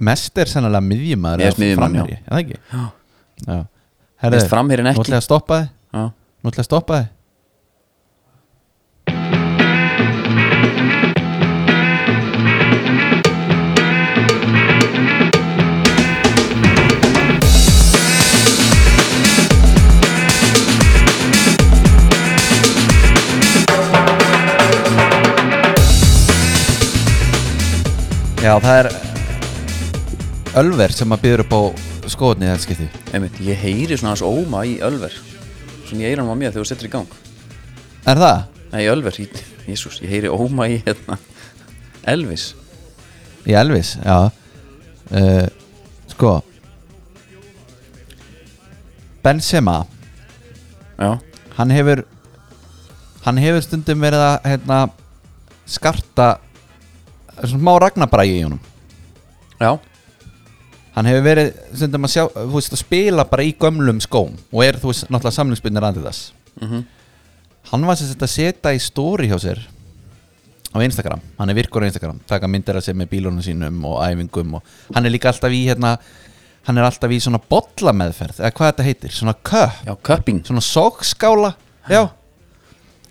[SPEAKER 1] mest er sennilega miðjumæður
[SPEAKER 2] Ég er miðjumaður, já.
[SPEAKER 1] já. Já,
[SPEAKER 2] (gasps) Já.
[SPEAKER 1] já.
[SPEAKER 2] Mest framherjinn
[SPEAKER 1] nú
[SPEAKER 2] ekki.
[SPEAKER 1] ætla ég að stoppa þið
[SPEAKER 2] Já,
[SPEAKER 1] nú ætla ég að stoppa þið Já, það er Ölver sem að býður upp á skoðunni í þetta skipti
[SPEAKER 2] Einmitt, ég heyri svona hans óma í Ölver Svona ég heyri hann á mér þegar þú setur í gang
[SPEAKER 1] Er það?
[SPEAKER 2] Nei, Ölver, í- Jesús, ég heyri óma í hérna Elvis
[SPEAKER 1] Í Elvis, já uh, Sko Benzema
[SPEAKER 2] Já,
[SPEAKER 1] Hann hefur Hann hefur stundum verið að hérna, skarta svona má ragnabrægi í honum
[SPEAKER 2] já,
[SPEAKER 1] Hann hefur verið stundum að, sjá, þú veist, að spila bara í gömlum skóm og er þú veist náttúrulega samlingsbyrnir andiðas
[SPEAKER 2] mm
[SPEAKER 1] Hann var sem sagt að setja í stóri hjá sér á Instagram, hann er virkur á Instagram taka myndir að sér með bílunum sínum og æfingum og hann er líka alltaf í hérna hann er alltaf í svona bollameðferð eða hvað þetta heitir, svona köpp
[SPEAKER 2] já, cupping
[SPEAKER 1] svona sókskála, já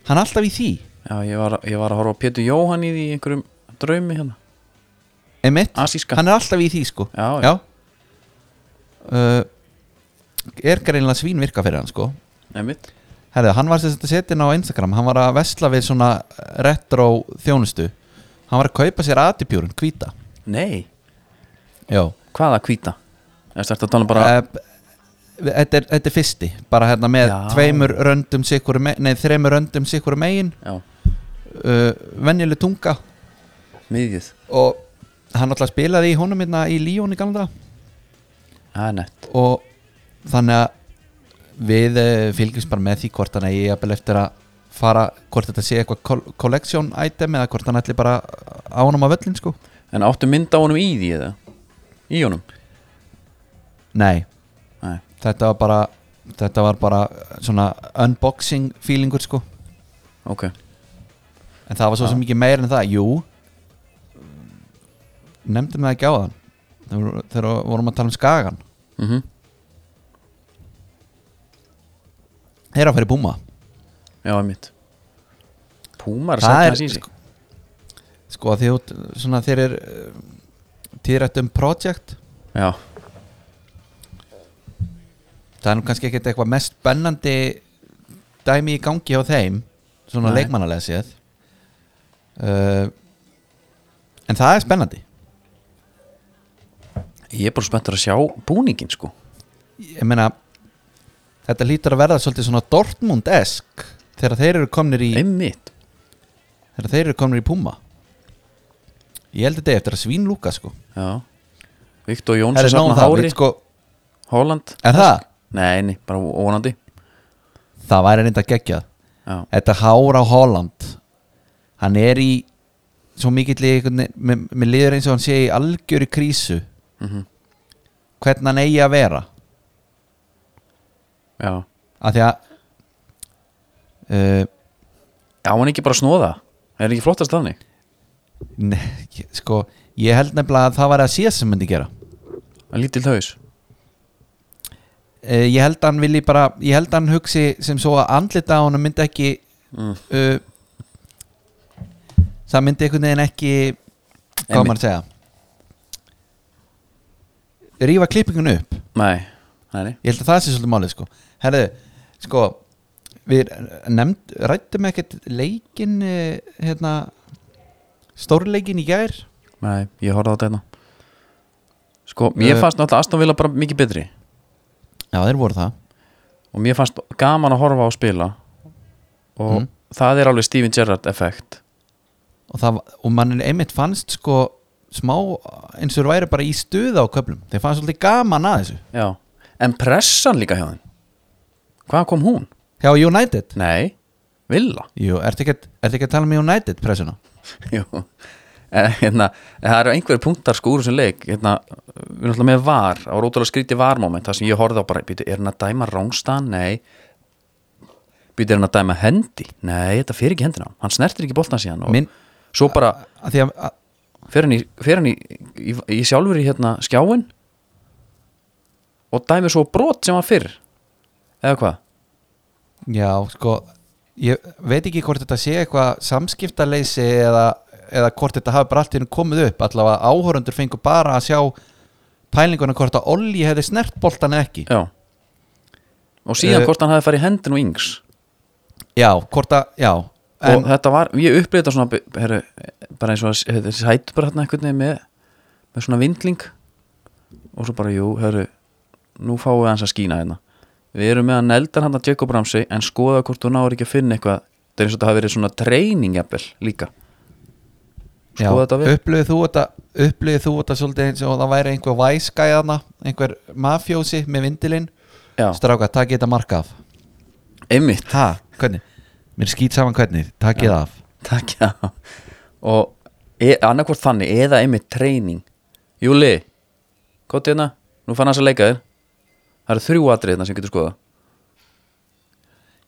[SPEAKER 1] hann er alltaf í því,
[SPEAKER 2] Já, ég var, ég var að horfa á Pétur Jóhann í því í einhverjum draumi hérna
[SPEAKER 1] emitt
[SPEAKER 2] Asíska
[SPEAKER 1] hann er alltaf í því sko
[SPEAKER 2] Já,
[SPEAKER 1] já uh, er greinlega svín virka fyrir hann sko
[SPEAKER 2] einmitt
[SPEAKER 1] Herðu, hann var sem þetta setin á Instagram hann var að vesla við svona eh, retro þjónustu hann var að kaupa sér atipjúrun, hvíta Eh,
[SPEAKER 2] Nei,
[SPEAKER 1] já
[SPEAKER 2] hvaða hvíta? Er þetta að tala bara
[SPEAKER 1] Eh, þetta, er, þetta er fyrsti bara hérna með
[SPEAKER 2] Já.
[SPEAKER 1] tveimur röndum sikkur megin, nei þreimur röndum sikkur megin
[SPEAKER 2] Já,
[SPEAKER 1] uh, venjuleg tunga
[SPEAKER 2] miðið
[SPEAKER 1] og hann alltaf spilaði í honum hérna í Líón í gamla daga.
[SPEAKER 2] Það er nett
[SPEAKER 1] og þannig að við eh, fylgjumst bara með því hvort hann eigi jafnvel eftir að fara hvort þetta sé eitthvað kol- collection item eða hvort hann ætli bara á honum að völlin sko
[SPEAKER 2] En áttu mynd á honum í því eða? Í honum?
[SPEAKER 1] nei,
[SPEAKER 2] Nei,
[SPEAKER 1] þetta var bara þetta var bara svona unboxing feelingur sko
[SPEAKER 2] ok
[SPEAKER 1] en það var svo sem mikið meir en það, jú nefndum það ekki á þann þegar við vorum að tala um skagan
[SPEAKER 2] mm
[SPEAKER 1] þeir eru að fara í búma
[SPEAKER 2] Já, einmitt Púmar
[SPEAKER 1] Það er-
[SPEAKER 2] að segja
[SPEAKER 1] sko- sko því út, svona þeir eru týrætt um project
[SPEAKER 2] Já,
[SPEAKER 1] það er nú kannski ekkert eitthvað mest spennandi dæmi í gangi hjá þeim svona
[SPEAKER 2] Nei.
[SPEAKER 1] leikmannalega séð uh, en það er spennandi
[SPEAKER 2] ég er bara spenntur að sjá búningin sko
[SPEAKER 1] ég meina þetta lítur að verða svolítið svona Dortmund-esk þegar þeir eru komnir í
[SPEAKER 2] Einmitt
[SPEAKER 1] þegar þeir eru komnir í Puma ég held þetta eigi eftir að svín lúka sko
[SPEAKER 2] Já Viktor
[SPEAKER 1] er
[SPEAKER 2] Jónsson
[SPEAKER 1] það
[SPEAKER 2] safna
[SPEAKER 1] nóg það,
[SPEAKER 2] hári
[SPEAKER 1] við, sko,
[SPEAKER 2] Holland
[SPEAKER 1] er það?
[SPEAKER 2] Nei, nei, bara ónandi
[SPEAKER 1] það væri reynda geggjað
[SPEAKER 2] Já,
[SPEAKER 1] þetta hár á Holland hann er í svo mikill með, með liður eins og hann sé í algjöru krísu
[SPEAKER 2] Mhm.
[SPEAKER 1] hvernig hann eigi að vera
[SPEAKER 2] já
[SPEAKER 1] af því að uh,
[SPEAKER 2] Já, hann ekki bara að snóða Er ekki flottast þannig?
[SPEAKER 1] ne, (laughs) ég- sko ég held nefnilega að það væri að síðast sem myndi gera
[SPEAKER 2] Að lítil haus
[SPEAKER 1] uh, ég held að hann vilji bara ég held að hann hugsi sem svo að andlita á hann myndi ekki
[SPEAKER 2] Mm.
[SPEAKER 1] uh, það myndi einhvern veginn ekki hvað á maður að segja rífa klippingun upp
[SPEAKER 2] Nei, nei, nei
[SPEAKER 1] ég held að það sé svolítið málið sko herðu, sko við nefnd, rættum ekkert leikin eh, hérna stórleikin í gær
[SPEAKER 2] Nei, ég horfði á þetta hérna. Sko, mér
[SPEAKER 1] Eh.
[SPEAKER 2] fannst náttúrulega Aston Villa bara mikið betri
[SPEAKER 1] já þeir voru það
[SPEAKER 2] og mér fannst gaman að horfa á spila og
[SPEAKER 1] Mm.
[SPEAKER 2] það er alveg Steven Gerrard effekt
[SPEAKER 1] og, það, og mann einmitt fannst sko smá eins og þeir væri bara í stuða á köflum þeir fannst svolítið gaman að þessu
[SPEAKER 2] Já, en pressan líka hjá þeim Hvað kom hún?
[SPEAKER 1] hjá United
[SPEAKER 2] Nei, Villa
[SPEAKER 1] Jú, ertu ekki, að- ertu ekki að tala um United pressuna
[SPEAKER 2] (laughs) Jú Eh, hérna, það eru einhverjir punktar sko úr þessum leik hérna, við erum alltaf með var á rótulega skríti varmoment það sem ég horfði á bara, býtu, er hann að dæma rángstan? Nei býtu, er hann að dæma hendi? Nei, þetta fyrir ekki hendina á honum. hann snertir ekki boltan síðan og
[SPEAKER 1] Minn,
[SPEAKER 2] svo bara
[SPEAKER 1] að því að, að,
[SPEAKER 2] fer hann í, fer hann í, í, í sjálfur í hérna skjáin og dæmi svo brot sem hann fyrr eða hvað?
[SPEAKER 1] Já, sko ég veit ekki hvort þetta sé eitthvað samskiptaleysi eða, eða hvort þetta hafi bara allt hérna komið upp allavega áhorundur fengur bara að sjá pælinguna hvort að Olli hefði snert boltan eða ekki
[SPEAKER 2] Já og síðan
[SPEAKER 1] Eh.
[SPEAKER 2] hvort hann hafi farið í hendin og yngs
[SPEAKER 1] Já, hvort að, já
[SPEAKER 2] og
[SPEAKER 1] en,
[SPEAKER 2] þetta var, ég upplýði þetta svona heru, bara eins og að- þetta sætur bara hérna einhvern veginn með með svona vindling og svo bara, jú, hörru nú fáum við hans að skína hérna við erum með að neldar hann að Jacob Ramsey en skoða hvort þú náður ekki að finna eitthvað það er eins og þetta hafi verið svona treyning jafnvel líka
[SPEAKER 1] Já,
[SPEAKER 2] Skoða þetta vel.
[SPEAKER 1] upplifið þú þetta upplifið þú þetta svolítið eins og það væri einhver væskæðana, einhver mafjósi með vindilinn,
[SPEAKER 2] já,
[SPEAKER 1] stráka, takk ég þetta marka af
[SPEAKER 2] einmitt
[SPEAKER 1] ha, hvernig? Mér skýt saman hvernig, takk ég það af
[SPEAKER 2] Takk, já Og e, annarkvort þannig eða einmitt treyning Júli, gott hérna Nú fann hans að leika þér Það eru þrjú atrið hérna sem getur skoða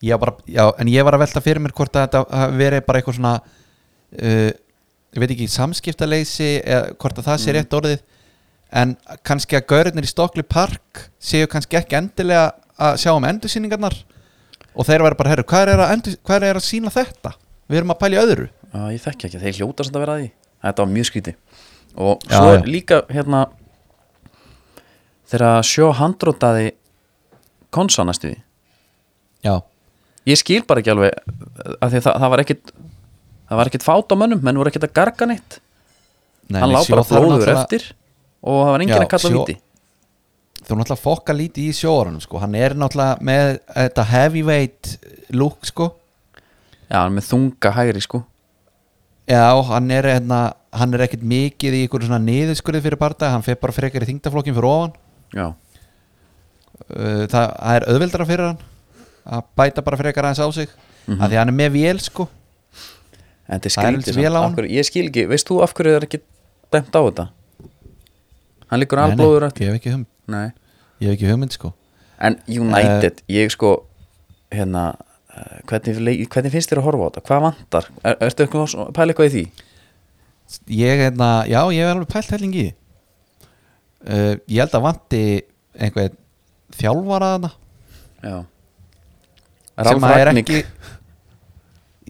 [SPEAKER 1] já, bara, já, en ég var að velta fyrir mér hvort að þetta hafi verið bara eitthvað svona uh, ég veit ekki, samskiptaleysi eða hvort að það
[SPEAKER 2] Mm.
[SPEAKER 1] sé rétt orðið en kannski að gaurinnir í Stokli Park séu kannski ekki endilega að sjá um endursýningarnar og þeir verður bara, herru, hvað er, að endur, hvað er að sína þetta? Við erum að pæla í öðru
[SPEAKER 2] Já, ég þekki ekki, þeir hljóta sem það vera að því Þetta var mjög skríti Og
[SPEAKER 1] Já,
[SPEAKER 2] svo
[SPEAKER 1] já.
[SPEAKER 2] er líka hérna Þegar sjó handrótaði Konsa næstu því
[SPEAKER 1] já
[SPEAKER 2] Ég skil bara ekki alveg að því það, það var ekkit Það var ekkit fát á mönnum Menn voru ekkit að garga neitt
[SPEAKER 1] Nei,
[SPEAKER 2] Hann
[SPEAKER 1] nei,
[SPEAKER 2] lá
[SPEAKER 1] sjó
[SPEAKER 2] bara
[SPEAKER 1] þarf
[SPEAKER 2] blóður
[SPEAKER 1] náttúrulega-
[SPEAKER 2] eftir Og það var enginn
[SPEAKER 1] Já,
[SPEAKER 2] að kalla
[SPEAKER 1] sjó-
[SPEAKER 2] viti
[SPEAKER 1] Þú náttúrulega fokka lítið í sjóranum sko. Hann er náttúrulega með þetta heavyweight look sko.
[SPEAKER 2] Já, hann er með þunga hægri sko
[SPEAKER 1] Já, hann er, hérna, hann er ekkit mikið í einhverju svona niðurskurði fyrir barða Hann fer bara frekar í þingdaflokkin fyrir ofan
[SPEAKER 2] Já,
[SPEAKER 1] Uh, Það, það er auðveldara fyrir hann Að bæta bara frekar aðeins á sig mm Því hann er með vél sko Það
[SPEAKER 2] en þetta er
[SPEAKER 1] er
[SPEAKER 2] skrítið
[SPEAKER 1] heldur
[SPEAKER 2] samt.
[SPEAKER 1] vel á
[SPEAKER 2] Af
[SPEAKER 1] honum.
[SPEAKER 2] hverju- Ég skil ekki, veist þú af hverju það er ekki dæmt á þetta? Hann liggur
[SPEAKER 1] Nei, nei,
[SPEAKER 2] alblóður
[SPEAKER 1] Ég hef ekki hugmynd,
[SPEAKER 2] Nei
[SPEAKER 1] ég hef ekki hugmynd sko
[SPEAKER 2] En United, ég sko hérna, eh, hvernig, leik- hvernig finnst þér að horfa á þetta? Hvað vantar? Er, ertu eitthvað að pæla eitthvað í því?
[SPEAKER 1] Ég, hérna, já, ég hef alveg pælt helling í því uh, Ég held að vanti einhvern þjálfara þarna
[SPEAKER 2] Já
[SPEAKER 1] sem
[SPEAKER 2] Ralf
[SPEAKER 1] að er
[SPEAKER 2] Ragnik
[SPEAKER 1] ekki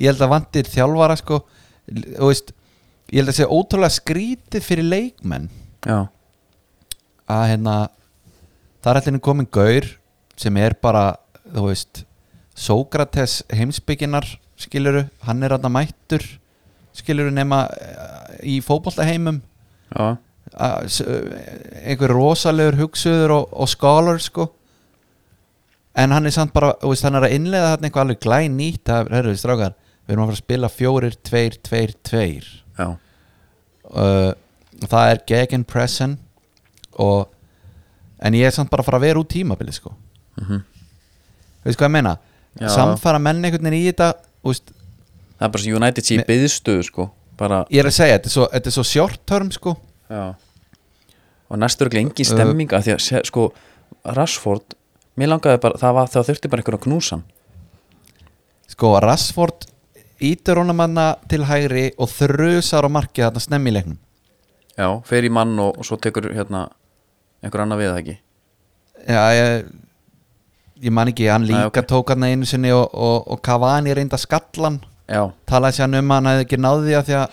[SPEAKER 1] ég held að vantir þjálfara sko og veist, ég held að sé ótrúlega skrítið fyrir leikmenn
[SPEAKER 2] Já,
[SPEAKER 1] að hérna það er allir komin gaur sem er bara, þú veist Sókrates heimsbygginar skiluru, hann er aðna mættur skiluru nema eh, í fótboltaheimum
[SPEAKER 2] já,
[SPEAKER 1] að s- eh, einhver rosalegur hugsuður og, og scholar sko en hann er samt bara, þú veist, hann er að innleiða þarna eitthvað alveg glæn nýtt, það er, herru, strákar við erum að fara að spila fjórir, tveir, tveir, tveir
[SPEAKER 2] já,
[SPEAKER 1] uh, það er gegn pressin og en ég er samt bara að fara að vera út tímabili sko
[SPEAKER 2] Mhm.
[SPEAKER 1] veist hvað ég meina
[SPEAKER 2] Já.
[SPEAKER 1] samfara menn einhvern veginn í þetta þú veist,
[SPEAKER 2] það er bara sem United sé í
[SPEAKER 1] Me-
[SPEAKER 2] byðstöðu sko bara,
[SPEAKER 1] ég er að segja, þetta er svo, þetta er svo short term sko
[SPEAKER 2] Já Og næstur ekki engin stemming af því að sé- sko Rashford, mér langaði bara það var það þurfti bara einhvern að knúsa hann
[SPEAKER 1] sko Rashford ítur honum manna til hægri og þrjusar á markið þarna snemmi í leiknum
[SPEAKER 2] Já, fer í mann og, og svo tekur hérna einhver annað við það ekki
[SPEAKER 1] já, ég, ég man ekki hann líka
[SPEAKER 2] Nei, ok.
[SPEAKER 1] tók hann einu sinni og, og, og Cavani reynda skallan
[SPEAKER 2] Já,
[SPEAKER 1] talaði sér um að hann hefði ekki náði því að því að,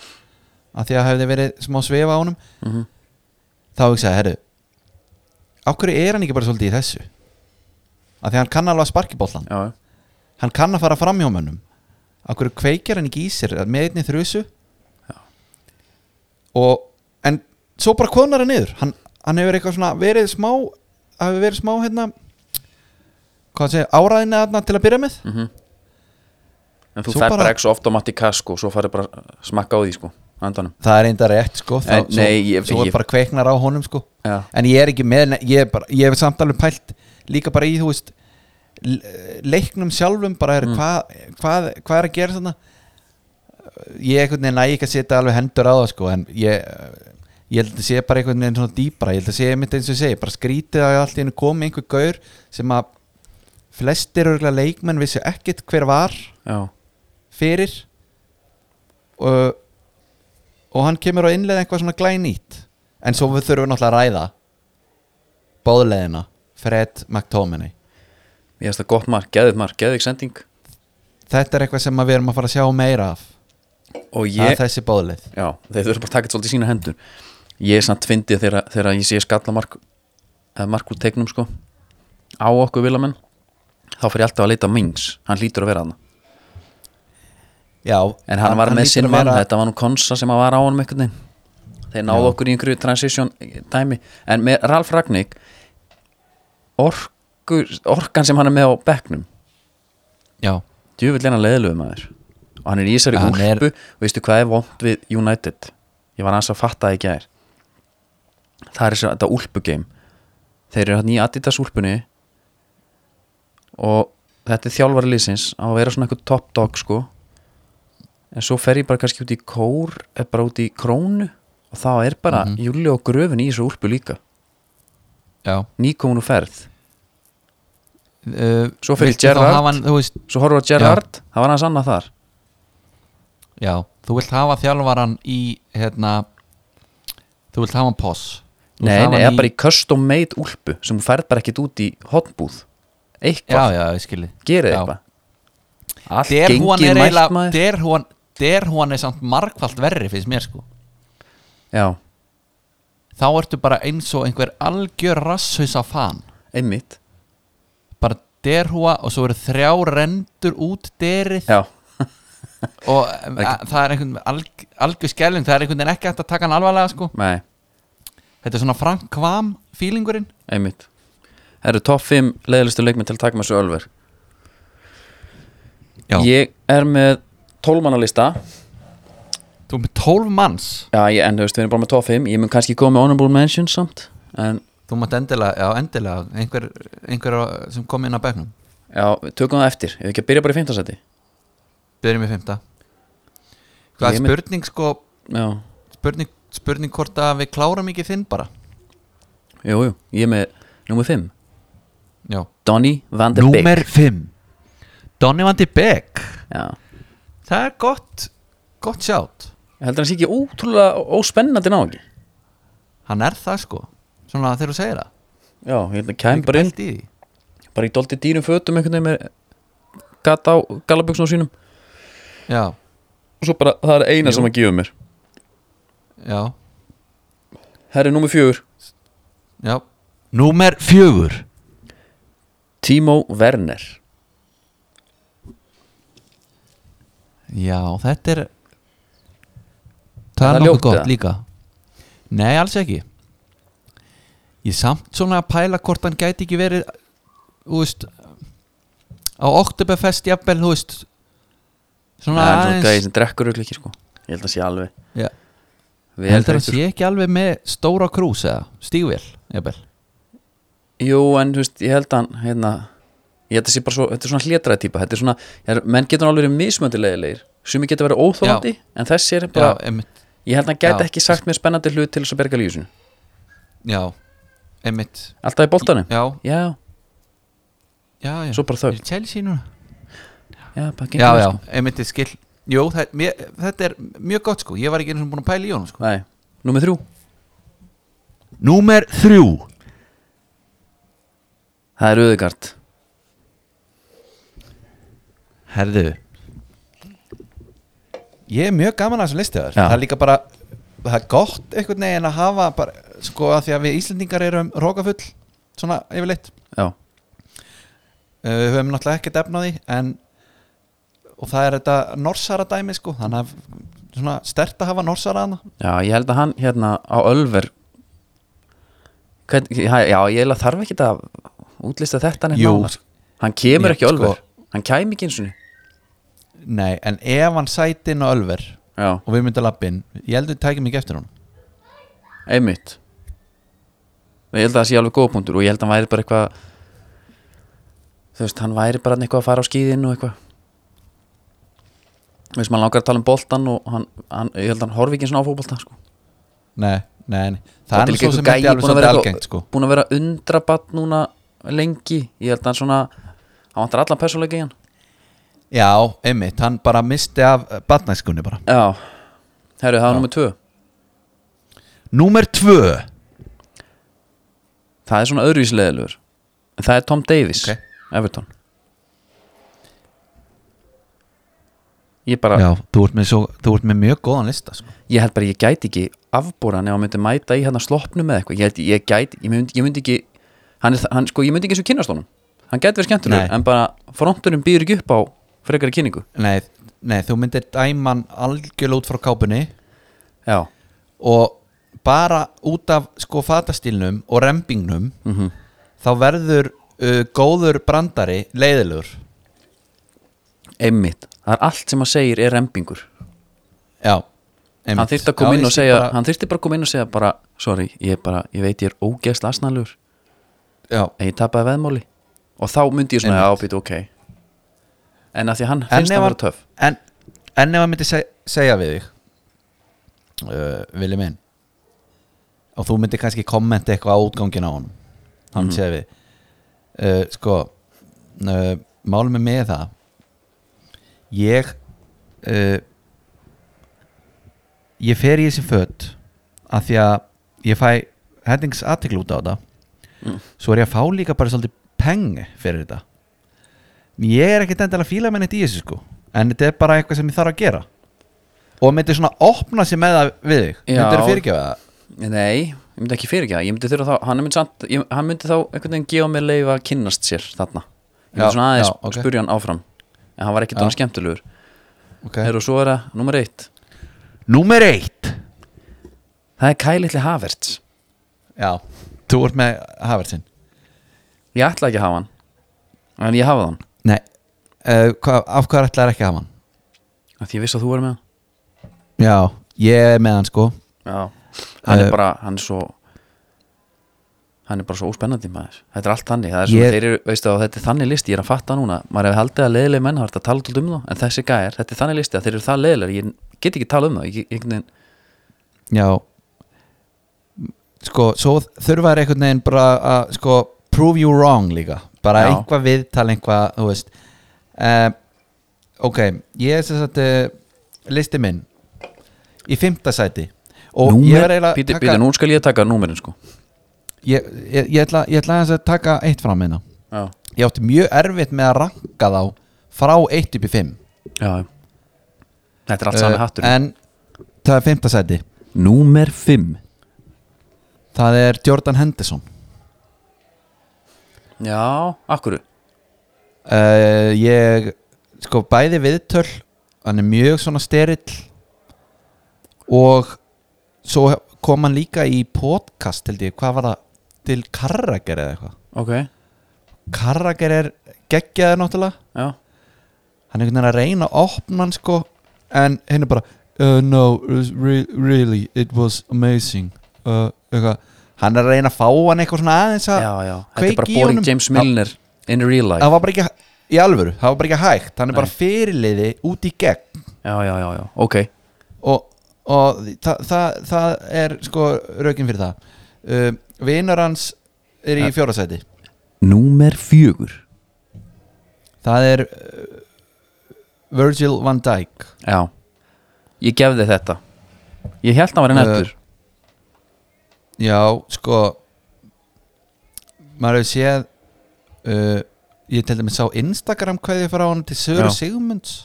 [SPEAKER 1] að því að hefði verið smá svefa á honum
[SPEAKER 2] Mhm.
[SPEAKER 1] þá hugsaði, ég, herru á hverju er hann ekki bara svolítið í þessu af því að hann kann alveg að sparki boltan
[SPEAKER 2] já, já.
[SPEAKER 1] hann kann að fara fram hjá mönnum af hverju kveikir hann ekki í sér með einni þrjusu og en svo bara konar hann niður hann, hann hefur eitthvað svona verið smá hafi verið smá hérna hvað segja, áræðinni þarna til að byrja með
[SPEAKER 2] Mhm. En þú
[SPEAKER 1] Svo
[SPEAKER 2] fer
[SPEAKER 1] bara-
[SPEAKER 2] bara ekki svo ofta á Matti Kass sko, svo farið bara að smakka á því sko andanum
[SPEAKER 1] það er enda rétt sko þá,
[SPEAKER 2] En, nei, ég-
[SPEAKER 1] svo, svo
[SPEAKER 2] ég-
[SPEAKER 1] bara kveiknar á honum sko
[SPEAKER 2] Já.
[SPEAKER 1] en ég er ekki með, ne- ég, er bara, ég hef samt alveg pælt líka bara í þú veist l- leiknum sjálfum bara
[SPEAKER 2] Mm.
[SPEAKER 1] er, hvað, hvað, hvað er að gera svona ég einhvern veginn næ ekki að setja alveg hendur á það sko en ég, ég held að sé bara einhvern veginn svona dýpra ég held að sé einmitt eins og ég segi bara skrítið að allt í hennu komi einhver gaur sem að flestir örgulega leikmenn vissu ekkit hver var
[SPEAKER 2] Já,
[SPEAKER 1] fyrir og, og hann kemur að innlega eitthvað svona glænýtt en svo við þurfum náttúrulega að ræða bóðleðina Fred McTominay
[SPEAKER 2] ég hefst það gott mark, geðið mark, geðið sending
[SPEAKER 1] þetta er eitthvað sem að við erum að fara að sjá meira af
[SPEAKER 2] Og
[SPEAKER 1] að
[SPEAKER 2] ég,
[SPEAKER 1] þessi bóðleð
[SPEAKER 2] já, þeir þurfa bara að taka þetta svolítið í sína hendur Ég er samt fyndið þegar, þegar ég sé skalla mark eða mark úr teiknum sko á okkur vilamenn þá fer ég alltaf að leita á Mings, hann hlýtur að vera hann
[SPEAKER 1] Já,
[SPEAKER 2] En hann var með
[SPEAKER 1] hlýtur
[SPEAKER 2] sinn
[SPEAKER 1] að
[SPEAKER 2] mann,
[SPEAKER 1] vera-
[SPEAKER 2] þetta var nú Konsa sem að var á honum einhvern veginn þeir náðu okkur í einhverju transition dæmi en með Ralf Ragník orku, orkan sem hann er með á bekknum
[SPEAKER 1] já,
[SPEAKER 2] djúvill er hann leðilöfum aður og hann er í Ísari
[SPEAKER 1] Hann er-
[SPEAKER 2] úlpu og veistu hvað er vond við United ég var aðeins að fatta það í gær það er þess að þetta úlpugame þeir eru hann í Adidas úlpunni og þetta er þjálfari liðsins á að vera svona eitthvað top dog sko en svo fer ég bara kannski út í kór eða bara út í krónu og þá er bara
[SPEAKER 1] Mhm.
[SPEAKER 2] mm Júli og gröfin í þessu úlpu líka
[SPEAKER 1] já
[SPEAKER 2] nýkomin og ferð
[SPEAKER 1] uh,
[SPEAKER 2] Eh, Svo fyrir
[SPEAKER 1] viltu þá
[SPEAKER 2] Gerrard.
[SPEAKER 1] hafa hann, þú veist,
[SPEAKER 2] svo horfum við að Gerrard, það var hans annað þar
[SPEAKER 1] já, þú vilt hafa þjálfaran í hérna þú vilt hafa hann poss Þú vilt
[SPEAKER 2] Nei,
[SPEAKER 1] hafa
[SPEAKER 2] nei,
[SPEAKER 1] hann
[SPEAKER 2] eða bara í custom made úlpu sem þú færð bara ekkit út í hotnbúð
[SPEAKER 1] já,
[SPEAKER 2] eitthvað,
[SPEAKER 1] já, ég skilji
[SPEAKER 2] gerið
[SPEAKER 1] já.
[SPEAKER 2] eitthvað allt
[SPEAKER 1] Der hún
[SPEAKER 2] gengið
[SPEAKER 1] er
[SPEAKER 2] mælt
[SPEAKER 1] eiginlega
[SPEAKER 2] maður
[SPEAKER 1] Der hún, der hún er samt margfalt verri finnst mér sko
[SPEAKER 2] já,
[SPEAKER 1] þá ertu bara eins og einhver algjör rasshaus af fan
[SPEAKER 2] einmitt
[SPEAKER 1] bara derhúa og svo eru þrjá rendur út derið
[SPEAKER 2] já,
[SPEAKER 1] og a, það er einhvern alg, algjör skelling, það er einhvern veginn ekki hægt að taka hann alvarlega sko,
[SPEAKER 2] nei,
[SPEAKER 1] þetta er svona Frank Kvam feelingurinn,
[SPEAKER 2] einmitt það eru topp 5 leiðlistu leikminn til að taka með svo ölver
[SPEAKER 1] Já.
[SPEAKER 2] ég er með 12 manna lista
[SPEAKER 1] þú er með 12 manns
[SPEAKER 2] já, ég, en þú veist, við erum bara með topp 5 ég mun kannski koma með honorable mention samt en
[SPEAKER 1] þú mátt endilega, já endilega einhver, einhver sem kom inn á bekknum
[SPEAKER 2] já, við tökum það eftir, ef ekki að byrja bara í 15 seti
[SPEAKER 1] byrjum við fymta hvað
[SPEAKER 2] Ég
[SPEAKER 1] er
[SPEAKER 2] með-
[SPEAKER 1] spurning sko
[SPEAKER 2] já,
[SPEAKER 1] spurning, spurning hvort að við klárum ekki þinn bara
[SPEAKER 2] jú, jú, ég er með nummer 5,
[SPEAKER 1] já.
[SPEAKER 2] Donny van der Beek
[SPEAKER 1] 5 Donny Van de Beek
[SPEAKER 2] já
[SPEAKER 1] það er gott, gott sjátt
[SPEAKER 2] heldur hann sé ekki ótrúlega óspennandi náðingi
[SPEAKER 1] hann er það sko, svona þegar þú segir það
[SPEAKER 2] já, ég held að kæm
[SPEAKER 1] Bara
[SPEAKER 2] bara inn
[SPEAKER 1] pælt í því.
[SPEAKER 2] bara í doldi dýrum fötum einhvern veginn með gata á gallaböksnum sínum
[SPEAKER 1] Já,
[SPEAKER 2] og svo bara það er eina sem hann gefur mér
[SPEAKER 1] já,
[SPEAKER 2] herri nummer fjögur
[SPEAKER 1] já Númer fjögur
[SPEAKER 2] Timo Werner
[SPEAKER 1] Já, þetta er
[SPEAKER 2] það
[SPEAKER 1] Það er nokkuð
[SPEAKER 2] ljótt,
[SPEAKER 1] gott
[SPEAKER 2] eða?
[SPEAKER 1] líka Nei, alls ekki Ég samt svona að pæla hvort hann gæti ekki verið Þú veist Á Oktoberfest jafnvel, þú veist Svona
[SPEAKER 2] það er svona gæði
[SPEAKER 1] aðeins
[SPEAKER 2] sem drekkur öll ekki sko ég held að sé alveg
[SPEAKER 1] Já.
[SPEAKER 2] vel
[SPEAKER 1] Heldur að
[SPEAKER 2] þreyttur.
[SPEAKER 1] sé ekki alveg með stóra krús eða stígvél, jafnvel
[SPEAKER 2] jú en þú veist ég held að hann hérna ég held að sé bara svo þetta er svona hlétraði típa þetta er svona er, menn getur alveg verið mismöndilegilegir sumi getur verið óþólandi en þessi er
[SPEAKER 1] Já,
[SPEAKER 2] bara
[SPEAKER 1] einmitt
[SPEAKER 2] ég held að hann gæti
[SPEAKER 1] Já.
[SPEAKER 2] ekki sagt mér spennandi hlut til þess að berga lífsinu
[SPEAKER 1] Já, einmitt
[SPEAKER 2] alltaf í boltanum
[SPEAKER 1] Já,
[SPEAKER 2] já,
[SPEAKER 1] já, já
[SPEAKER 2] svo bara þau
[SPEAKER 1] Er Chelsea núna
[SPEAKER 2] Já, bara gengur
[SPEAKER 1] já,
[SPEAKER 2] vel,
[SPEAKER 1] já,
[SPEAKER 2] sko.
[SPEAKER 1] einmitt er skil Jó, það, mér, þetta er mjög gott sko Ég var ekki einu sem búin að pæla í honum sko
[SPEAKER 2] Nei, númer þrjú
[SPEAKER 1] Númer þrjú
[SPEAKER 2] Það er auðugart
[SPEAKER 1] Herðu Ég er mjög gaman að þessu listi þar
[SPEAKER 2] Já.
[SPEAKER 1] Það er líka bara Það er gott einhvern veginn að hafa bara, Sko að því að við Íslendingar erum rókafull Svona yfirleitt
[SPEAKER 2] Já,
[SPEAKER 1] Uh, Við höfum náttúrulega ekkert efni á því En Og það er þetta norsara dæmi sko Þannig að svona stert að hafa norsara hana
[SPEAKER 2] já ég held að hann hérna á Ölver Hvern, já, já, ég held að þarf ekki að útlista þetta neitt
[SPEAKER 1] Jú.
[SPEAKER 2] nánar, sko. Hann kemur
[SPEAKER 1] Ég,
[SPEAKER 2] ekki á
[SPEAKER 1] sko-
[SPEAKER 2] Ölver Hann kæmi ekki eins og
[SPEAKER 1] Nei, en ef hann sæti inn á Ölver
[SPEAKER 2] Já,
[SPEAKER 1] Og við myndum lappin Ég heldur við tækjum ekki eftir hún
[SPEAKER 2] einmitt Ég held að það sé alveg góða punktur og ég held að hann væri bara eitthvað Þú veist, hann væri bara þarna eitthvað að fara á skíðin og eitthvað Þú veist, maður langar að tala um boltan og hann, hann, ég held að hann horfi ekki eins og á fótbolta sko.
[SPEAKER 1] Nei, nei, nei.
[SPEAKER 2] Það
[SPEAKER 1] Það
[SPEAKER 2] er
[SPEAKER 1] er nú
[SPEAKER 2] líka
[SPEAKER 1] svo
[SPEAKER 2] einhver
[SPEAKER 1] sem ekki
[SPEAKER 2] gæi
[SPEAKER 1] alveg
[SPEAKER 2] búin að
[SPEAKER 1] svolítið
[SPEAKER 2] vera
[SPEAKER 1] algengt sko
[SPEAKER 2] búin að vera undrabatt núna lengi ég held að hann svona hann vantar allan persónleika í hann
[SPEAKER 1] Já, einmitt, hann bara misti af batnæskunni bara
[SPEAKER 2] já, herru það var nummer tvö
[SPEAKER 1] Númer tvö
[SPEAKER 2] það er svona öðruvísleðilegur en það er Tom Davies,
[SPEAKER 1] Ok.
[SPEAKER 2] Everton ég bara,
[SPEAKER 1] Já, þú ert með, svo, þú ert með mjög góðan lista sko.
[SPEAKER 2] ég held bara ég gæti ekki afbúran ef hann myndi mæta í hérna sloppnum eða eitthvað, ég held ég gæti ég myndi, ég myndi ekki, hann er, þa- hann, sko ég myndi ekki eins og kynast honum, hann gæti verið skemmtulegur
[SPEAKER 1] Nei.
[SPEAKER 2] en bara fronturinn býður ekki upp á frekari kynningu,
[SPEAKER 1] nei, nei, þú myndir dæman algjörlega út frá kápunni
[SPEAKER 2] já
[SPEAKER 1] og bara út af sko fatastílnum og rembingnum
[SPEAKER 2] Mhm.
[SPEAKER 1] þá verður uh, góður brandari leiðilegur
[SPEAKER 2] einmitt, það er allt sem hann segir er rempingur
[SPEAKER 1] Já, einmitt.
[SPEAKER 2] hann þyrfti að koma
[SPEAKER 1] Já,
[SPEAKER 2] inn
[SPEAKER 1] ég
[SPEAKER 2] og
[SPEAKER 1] skil
[SPEAKER 2] segja
[SPEAKER 1] bara,
[SPEAKER 2] hann þyrfti bara að koma inn og segja bara sorry, ég, er bara, ég veit ég er ógeðsla asnalur
[SPEAKER 1] Já,
[SPEAKER 2] en ég tapaði veðmáli og þá myndi ég svona, já,
[SPEAKER 1] Einmitt.
[SPEAKER 2] býtu, ok en að því að hann
[SPEAKER 1] En
[SPEAKER 2] finnst
[SPEAKER 1] ef hann-
[SPEAKER 2] það vera töff
[SPEAKER 1] en, en ef hann myndi seg, segja við þig uh, Vili minn og þú myndi kannski kommenta eitthvað á útgangin á honum hann
[SPEAKER 2] Mhm.
[SPEAKER 1] mm. segja við uh, sko uh, málum er með það ég uh, ég fer í þessi fött af því að ég fæ hendings aðtekl út á þetta svo er ég að fá líka bara svolítið peng fyrir þetta ég er ekkert endilega að fíla með neitt í þessu sko en þetta er bara eitthvað sem ég þarf að gera og myndi svona opna sér með það við þig
[SPEAKER 2] Já.
[SPEAKER 1] myndir að fyrirgefa það
[SPEAKER 2] nei, ég myndi ekki fyrir ekki það ég myndi þurfa þá, hann myndi, samt, ég, hann myndi þá einhvern veginn gefa mér leið að kynnast sér þarna ég myndi
[SPEAKER 1] Já,
[SPEAKER 2] svona aðeins
[SPEAKER 1] já, ok.
[SPEAKER 2] spurja hann áfram en hann var ekki
[SPEAKER 1] Já.
[SPEAKER 2] þannig skemmtilegur
[SPEAKER 1] okay.
[SPEAKER 2] Heru, og svo er það, nummer eitt
[SPEAKER 1] Númer eitt
[SPEAKER 2] það er kælitli Havertz
[SPEAKER 1] Já, þú ert með Havertzin
[SPEAKER 2] ég ætla ekki að hafa hann en ég hafa hann,
[SPEAKER 1] Nei, uh, hva, af hvað ætlar ekki að hafa hann?
[SPEAKER 2] af því ég vissi að þú er með hann
[SPEAKER 1] Já, ég er með hann sko
[SPEAKER 2] Já, hann
[SPEAKER 1] Eh,
[SPEAKER 2] er bara hann er svo hann er bara svo óspennandi maður þetta er allt þannig, það er svona,
[SPEAKER 1] Ég-
[SPEAKER 2] þeir eru, veistu það, þetta er þannig listi, ég er að fatta núna maður hefði haldið að leiðileg menn, það er að tala út um þá en þessi gæjar, þetta er þannig listi að þeir eru það leiðileg ég get ekki tala um það, ég, ég, ég,
[SPEAKER 1] Já Sko, svo þurfa er einhvern veginn bara að sko, prove you wrong líka bara
[SPEAKER 2] Já.
[SPEAKER 1] einhvað viðtal, einhvað, þú veist uh, Ok, ég er sem sagt uh, listi minn í fimmta sæti og ég
[SPEAKER 2] númer,
[SPEAKER 1] er eiginlega
[SPEAKER 2] býti,
[SPEAKER 1] taka-
[SPEAKER 2] býti, nú skal ég taka númerin sko
[SPEAKER 1] ég, ég, ég ætla, ég ætla aðeins að taka eitt fram hérna
[SPEAKER 2] já,
[SPEAKER 1] ég átti mjög erfitt með að ranka þá frá 1 upp í 5
[SPEAKER 2] já þetta er allt sami hattur uh,
[SPEAKER 1] Eh, en það er 5. seti
[SPEAKER 2] númer 5
[SPEAKER 1] það er Jordan Henderson
[SPEAKER 2] já, akkuru,
[SPEAKER 1] uh, ég sko bæði viðtöl hann er mjög svona sterill og svo kom hann líka í podcast held ég, hvað var það til Karrager eða eitthvað
[SPEAKER 2] ok
[SPEAKER 1] Karrager er geggjaður náttúrulega
[SPEAKER 2] já,
[SPEAKER 1] hann er einhvern veginn að reyna að opna hann sko en hinn er bara uh, no, re really, it was amazing uh, eitthvað. hann er að reyna að fá hann eitthvað svona aðeins að
[SPEAKER 2] já, já þetta er
[SPEAKER 1] kveiki
[SPEAKER 2] bara
[SPEAKER 1] í
[SPEAKER 2] boring
[SPEAKER 1] honum.
[SPEAKER 2] James
[SPEAKER 1] Já.
[SPEAKER 2] Milner in real life
[SPEAKER 1] það var bara ekki í alvöru, það var bara ekki hægt hann er
[SPEAKER 2] Nei.
[SPEAKER 1] bara fyrirliði út í gegn
[SPEAKER 2] já, já, já, já, ok
[SPEAKER 1] og, og það, það, það er sko raukin fyrir það uh, vinar hans er í fjórasæti
[SPEAKER 2] Númer fjögur
[SPEAKER 1] það er uh, Virgil van Dijk
[SPEAKER 2] Já Ég gefði þetta Ég held að hann var
[SPEAKER 1] Eh,
[SPEAKER 2] nettur
[SPEAKER 1] Já, sko maður hefur séð uh, ég til dæmis sá Instagram kveði frá hann til Söru
[SPEAKER 2] Já.
[SPEAKER 1] Sigmunds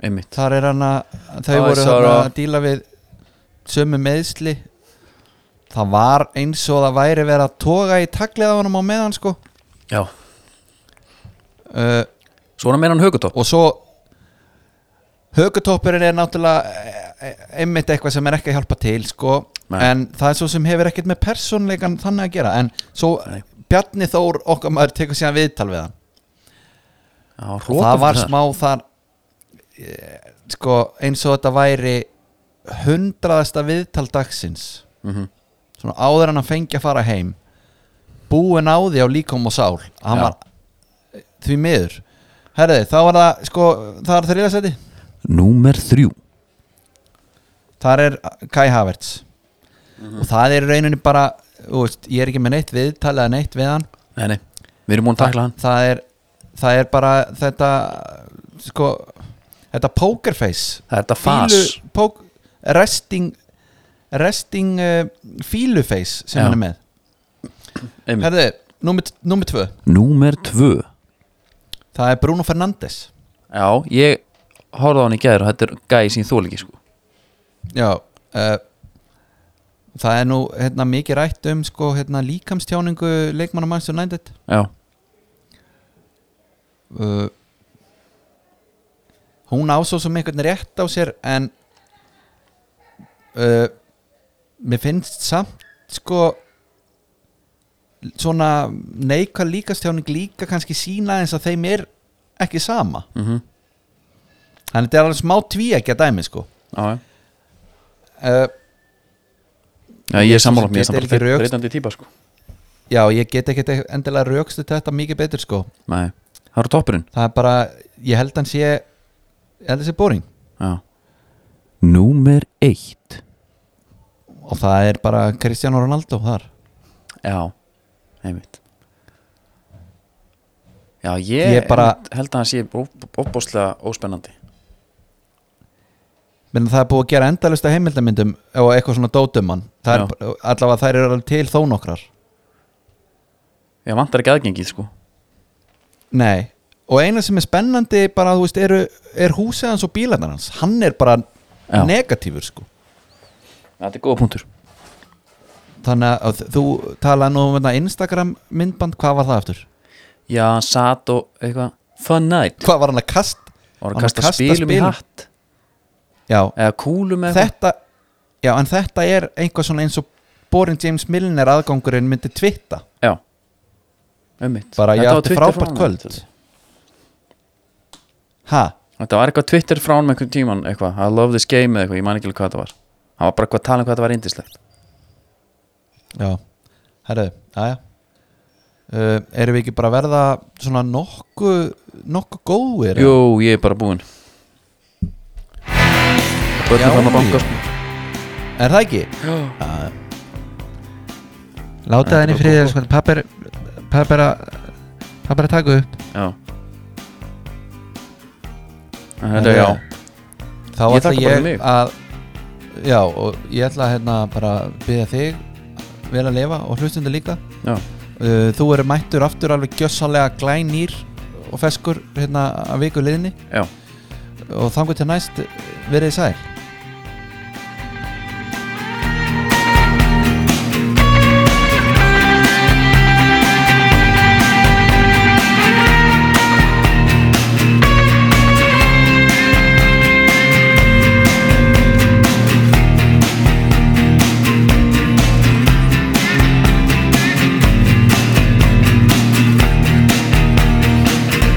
[SPEAKER 2] Einmitt
[SPEAKER 1] þar er hann að þau
[SPEAKER 2] Æ,
[SPEAKER 1] voru hann
[SPEAKER 2] Sara.
[SPEAKER 1] að díla við sömu meðsli það var eins og það væri verið að toga í taglið á honum á meðan sko
[SPEAKER 2] Já
[SPEAKER 1] uh,
[SPEAKER 2] Svona meina hann högutopp
[SPEAKER 1] og svo högutoppurinn er náttúrulega eh, eh, einmitt eitthvað sem er ekki að hjálpa til sko.
[SPEAKER 2] Nei.
[SPEAKER 1] en það er svo sem hefur ekkert með persónleikan þannig að gera en svo
[SPEAKER 2] Nei.
[SPEAKER 1] Bjarni Þór okkar maður tekur síðan viðtal við hann
[SPEAKER 2] Já,
[SPEAKER 1] og það var
[SPEAKER 2] rotalegt
[SPEAKER 1] smá þar eh, sko, eins og þetta væri hundraðasta viðtal dagsins
[SPEAKER 2] Mhm.
[SPEAKER 1] svona áður en hann fengi að fara heim búin á því á líkom og sál hann
[SPEAKER 2] Já.
[SPEAKER 1] var e, því miður herði þá var það sko það var þriðasæti
[SPEAKER 2] Númer þrjú
[SPEAKER 1] þar er Kai Havertz
[SPEAKER 2] Mhm.
[SPEAKER 1] og það er í rauninni bara þú veist, ég er ekki með neitt viðtal eða neitt við hann
[SPEAKER 2] Nei, nei Við erum búin að takla hann
[SPEAKER 1] það er, það er bara þetta sko, þetta pokerface
[SPEAKER 2] Það er þetta fas
[SPEAKER 1] Fílu- pók, resting resting uh, fíluface sem
[SPEAKER 2] Já.
[SPEAKER 1] hann er með
[SPEAKER 2] Einmitt
[SPEAKER 1] herðu, númer, númer tvö
[SPEAKER 2] Númer tvö
[SPEAKER 1] það er Bruno Fernandes
[SPEAKER 2] Já, ég horfði á hann í gæður og þetta er gæði sín þóliki sko
[SPEAKER 1] Já uh, Það er nú hérna, mikið rætt um sko, hérna, líkamstjáningu leikmanna Manchester United
[SPEAKER 2] Já
[SPEAKER 1] uh, Hún á svo sem einhvern rétt á sér en uh, mér finnst samt sko svona neikvæð líkastjáning líka kannski sína eins að þeim er ekki sama
[SPEAKER 2] mm -hmm.
[SPEAKER 1] þannig þetta er alveg smá tví ekki að dæmi sko
[SPEAKER 2] Já,
[SPEAKER 1] uh,
[SPEAKER 2] já, ég er sammála mér er
[SPEAKER 1] Þetta er
[SPEAKER 2] samt
[SPEAKER 1] ekki
[SPEAKER 2] bara
[SPEAKER 1] rökst-
[SPEAKER 2] breytandi típa sko
[SPEAKER 1] já ég get ekki endilega raukstu þetta mikið betur sko
[SPEAKER 2] Nei, það eru toppurinn
[SPEAKER 1] það er bara, ég held hann sé ég held hann sé boring
[SPEAKER 2] Já Númer eitt
[SPEAKER 1] og það er bara Cristiano Ronaldo þar
[SPEAKER 2] Já, einmitt Já, ég,
[SPEAKER 1] Ég bara-
[SPEAKER 2] einmitt held að hann sé opbóðslega óspennandi
[SPEAKER 1] menn það er búið að gera endalista heimildamyndum og eitthvað svona dótumann
[SPEAKER 2] Já.
[SPEAKER 1] allavega þær eru alveg til þó nokkrar
[SPEAKER 2] Ég vantar ekki aðgengið sko
[SPEAKER 1] Nei, og eina sem er spennandi bara, þú veist, eru, er húsið hans og bílarnar hans hann er bara
[SPEAKER 2] Já.
[SPEAKER 1] negatífur sko.
[SPEAKER 2] Þetta er góða punktur
[SPEAKER 1] þannig að þ- þú talaði nú um þetta Instagram myndband, hvað var það eftir?
[SPEAKER 2] Já, hann sat og eitthvað Fun night
[SPEAKER 1] Hvað var hann að kast?
[SPEAKER 2] Og hann kasta spilum í hatt
[SPEAKER 1] Já,
[SPEAKER 2] Eða kúlum eða
[SPEAKER 1] þetta já, en þetta er einhvað svona eins og Borin James Milner aðgangurinn myndi tvitta
[SPEAKER 2] eitthvað. Já Einmitt
[SPEAKER 1] bara ég
[SPEAKER 2] Þetta var
[SPEAKER 1] átti
[SPEAKER 2] Twitter frá
[SPEAKER 1] frábært
[SPEAKER 2] honum,
[SPEAKER 1] kvöld
[SPEAKER 2] þetta.
[SPEAKER 1] ha,
[SPEAKER 2] Þetta var eitthvað Twitter frá hann með einhvern tíman eitthvað I love this game eða eitthvað, ég man ekki alveg hvað þetta var Hann var bara eitthvað að tala um hvað þetta var indislegt
[SPEAKER 1] já herru, aðja uh, erum við ekki bara að verða svona nokku nokku góðir
[SPEAKER 2] Jú, ég er bara búinn
[SPEAKER 1] Já,
[SPEAKER 2] Börnum fann að
[SPEAKER 1] jú.
[SPEAKER 2] banka sko
[SPEAKER 1] er það ekki?
[SPEAKER 2] Já
[SPEAKER 1] Láta henni
[SPEAKER 2] friði,
[SPEAKER 1] frið sko, pappir pappir að pappir að taka upp
[SPEAKER 2] Já En Þetta er já
[SPEAKER 1] Þá
[SPEAKER 2] Ég
[SPEAKER 1] ætla
[SPEAKER 2] þakka bara
[SPEAKER 1] ég
[SPEAKER 2] mig.
[SPEAKER 1] að Já, og ég ætla hérna bara að byrja þig vel að lifa og hlustundu líka
[SPEAKER 2] Já,
[SPEAKER 1] uh, Þú eru mættur aftur alveg gjössalega glænýr og feskur hérna að viku liðinni
[SPEAKER 2] já
[SPEAKER 1] og þangur til næst verið þið sæl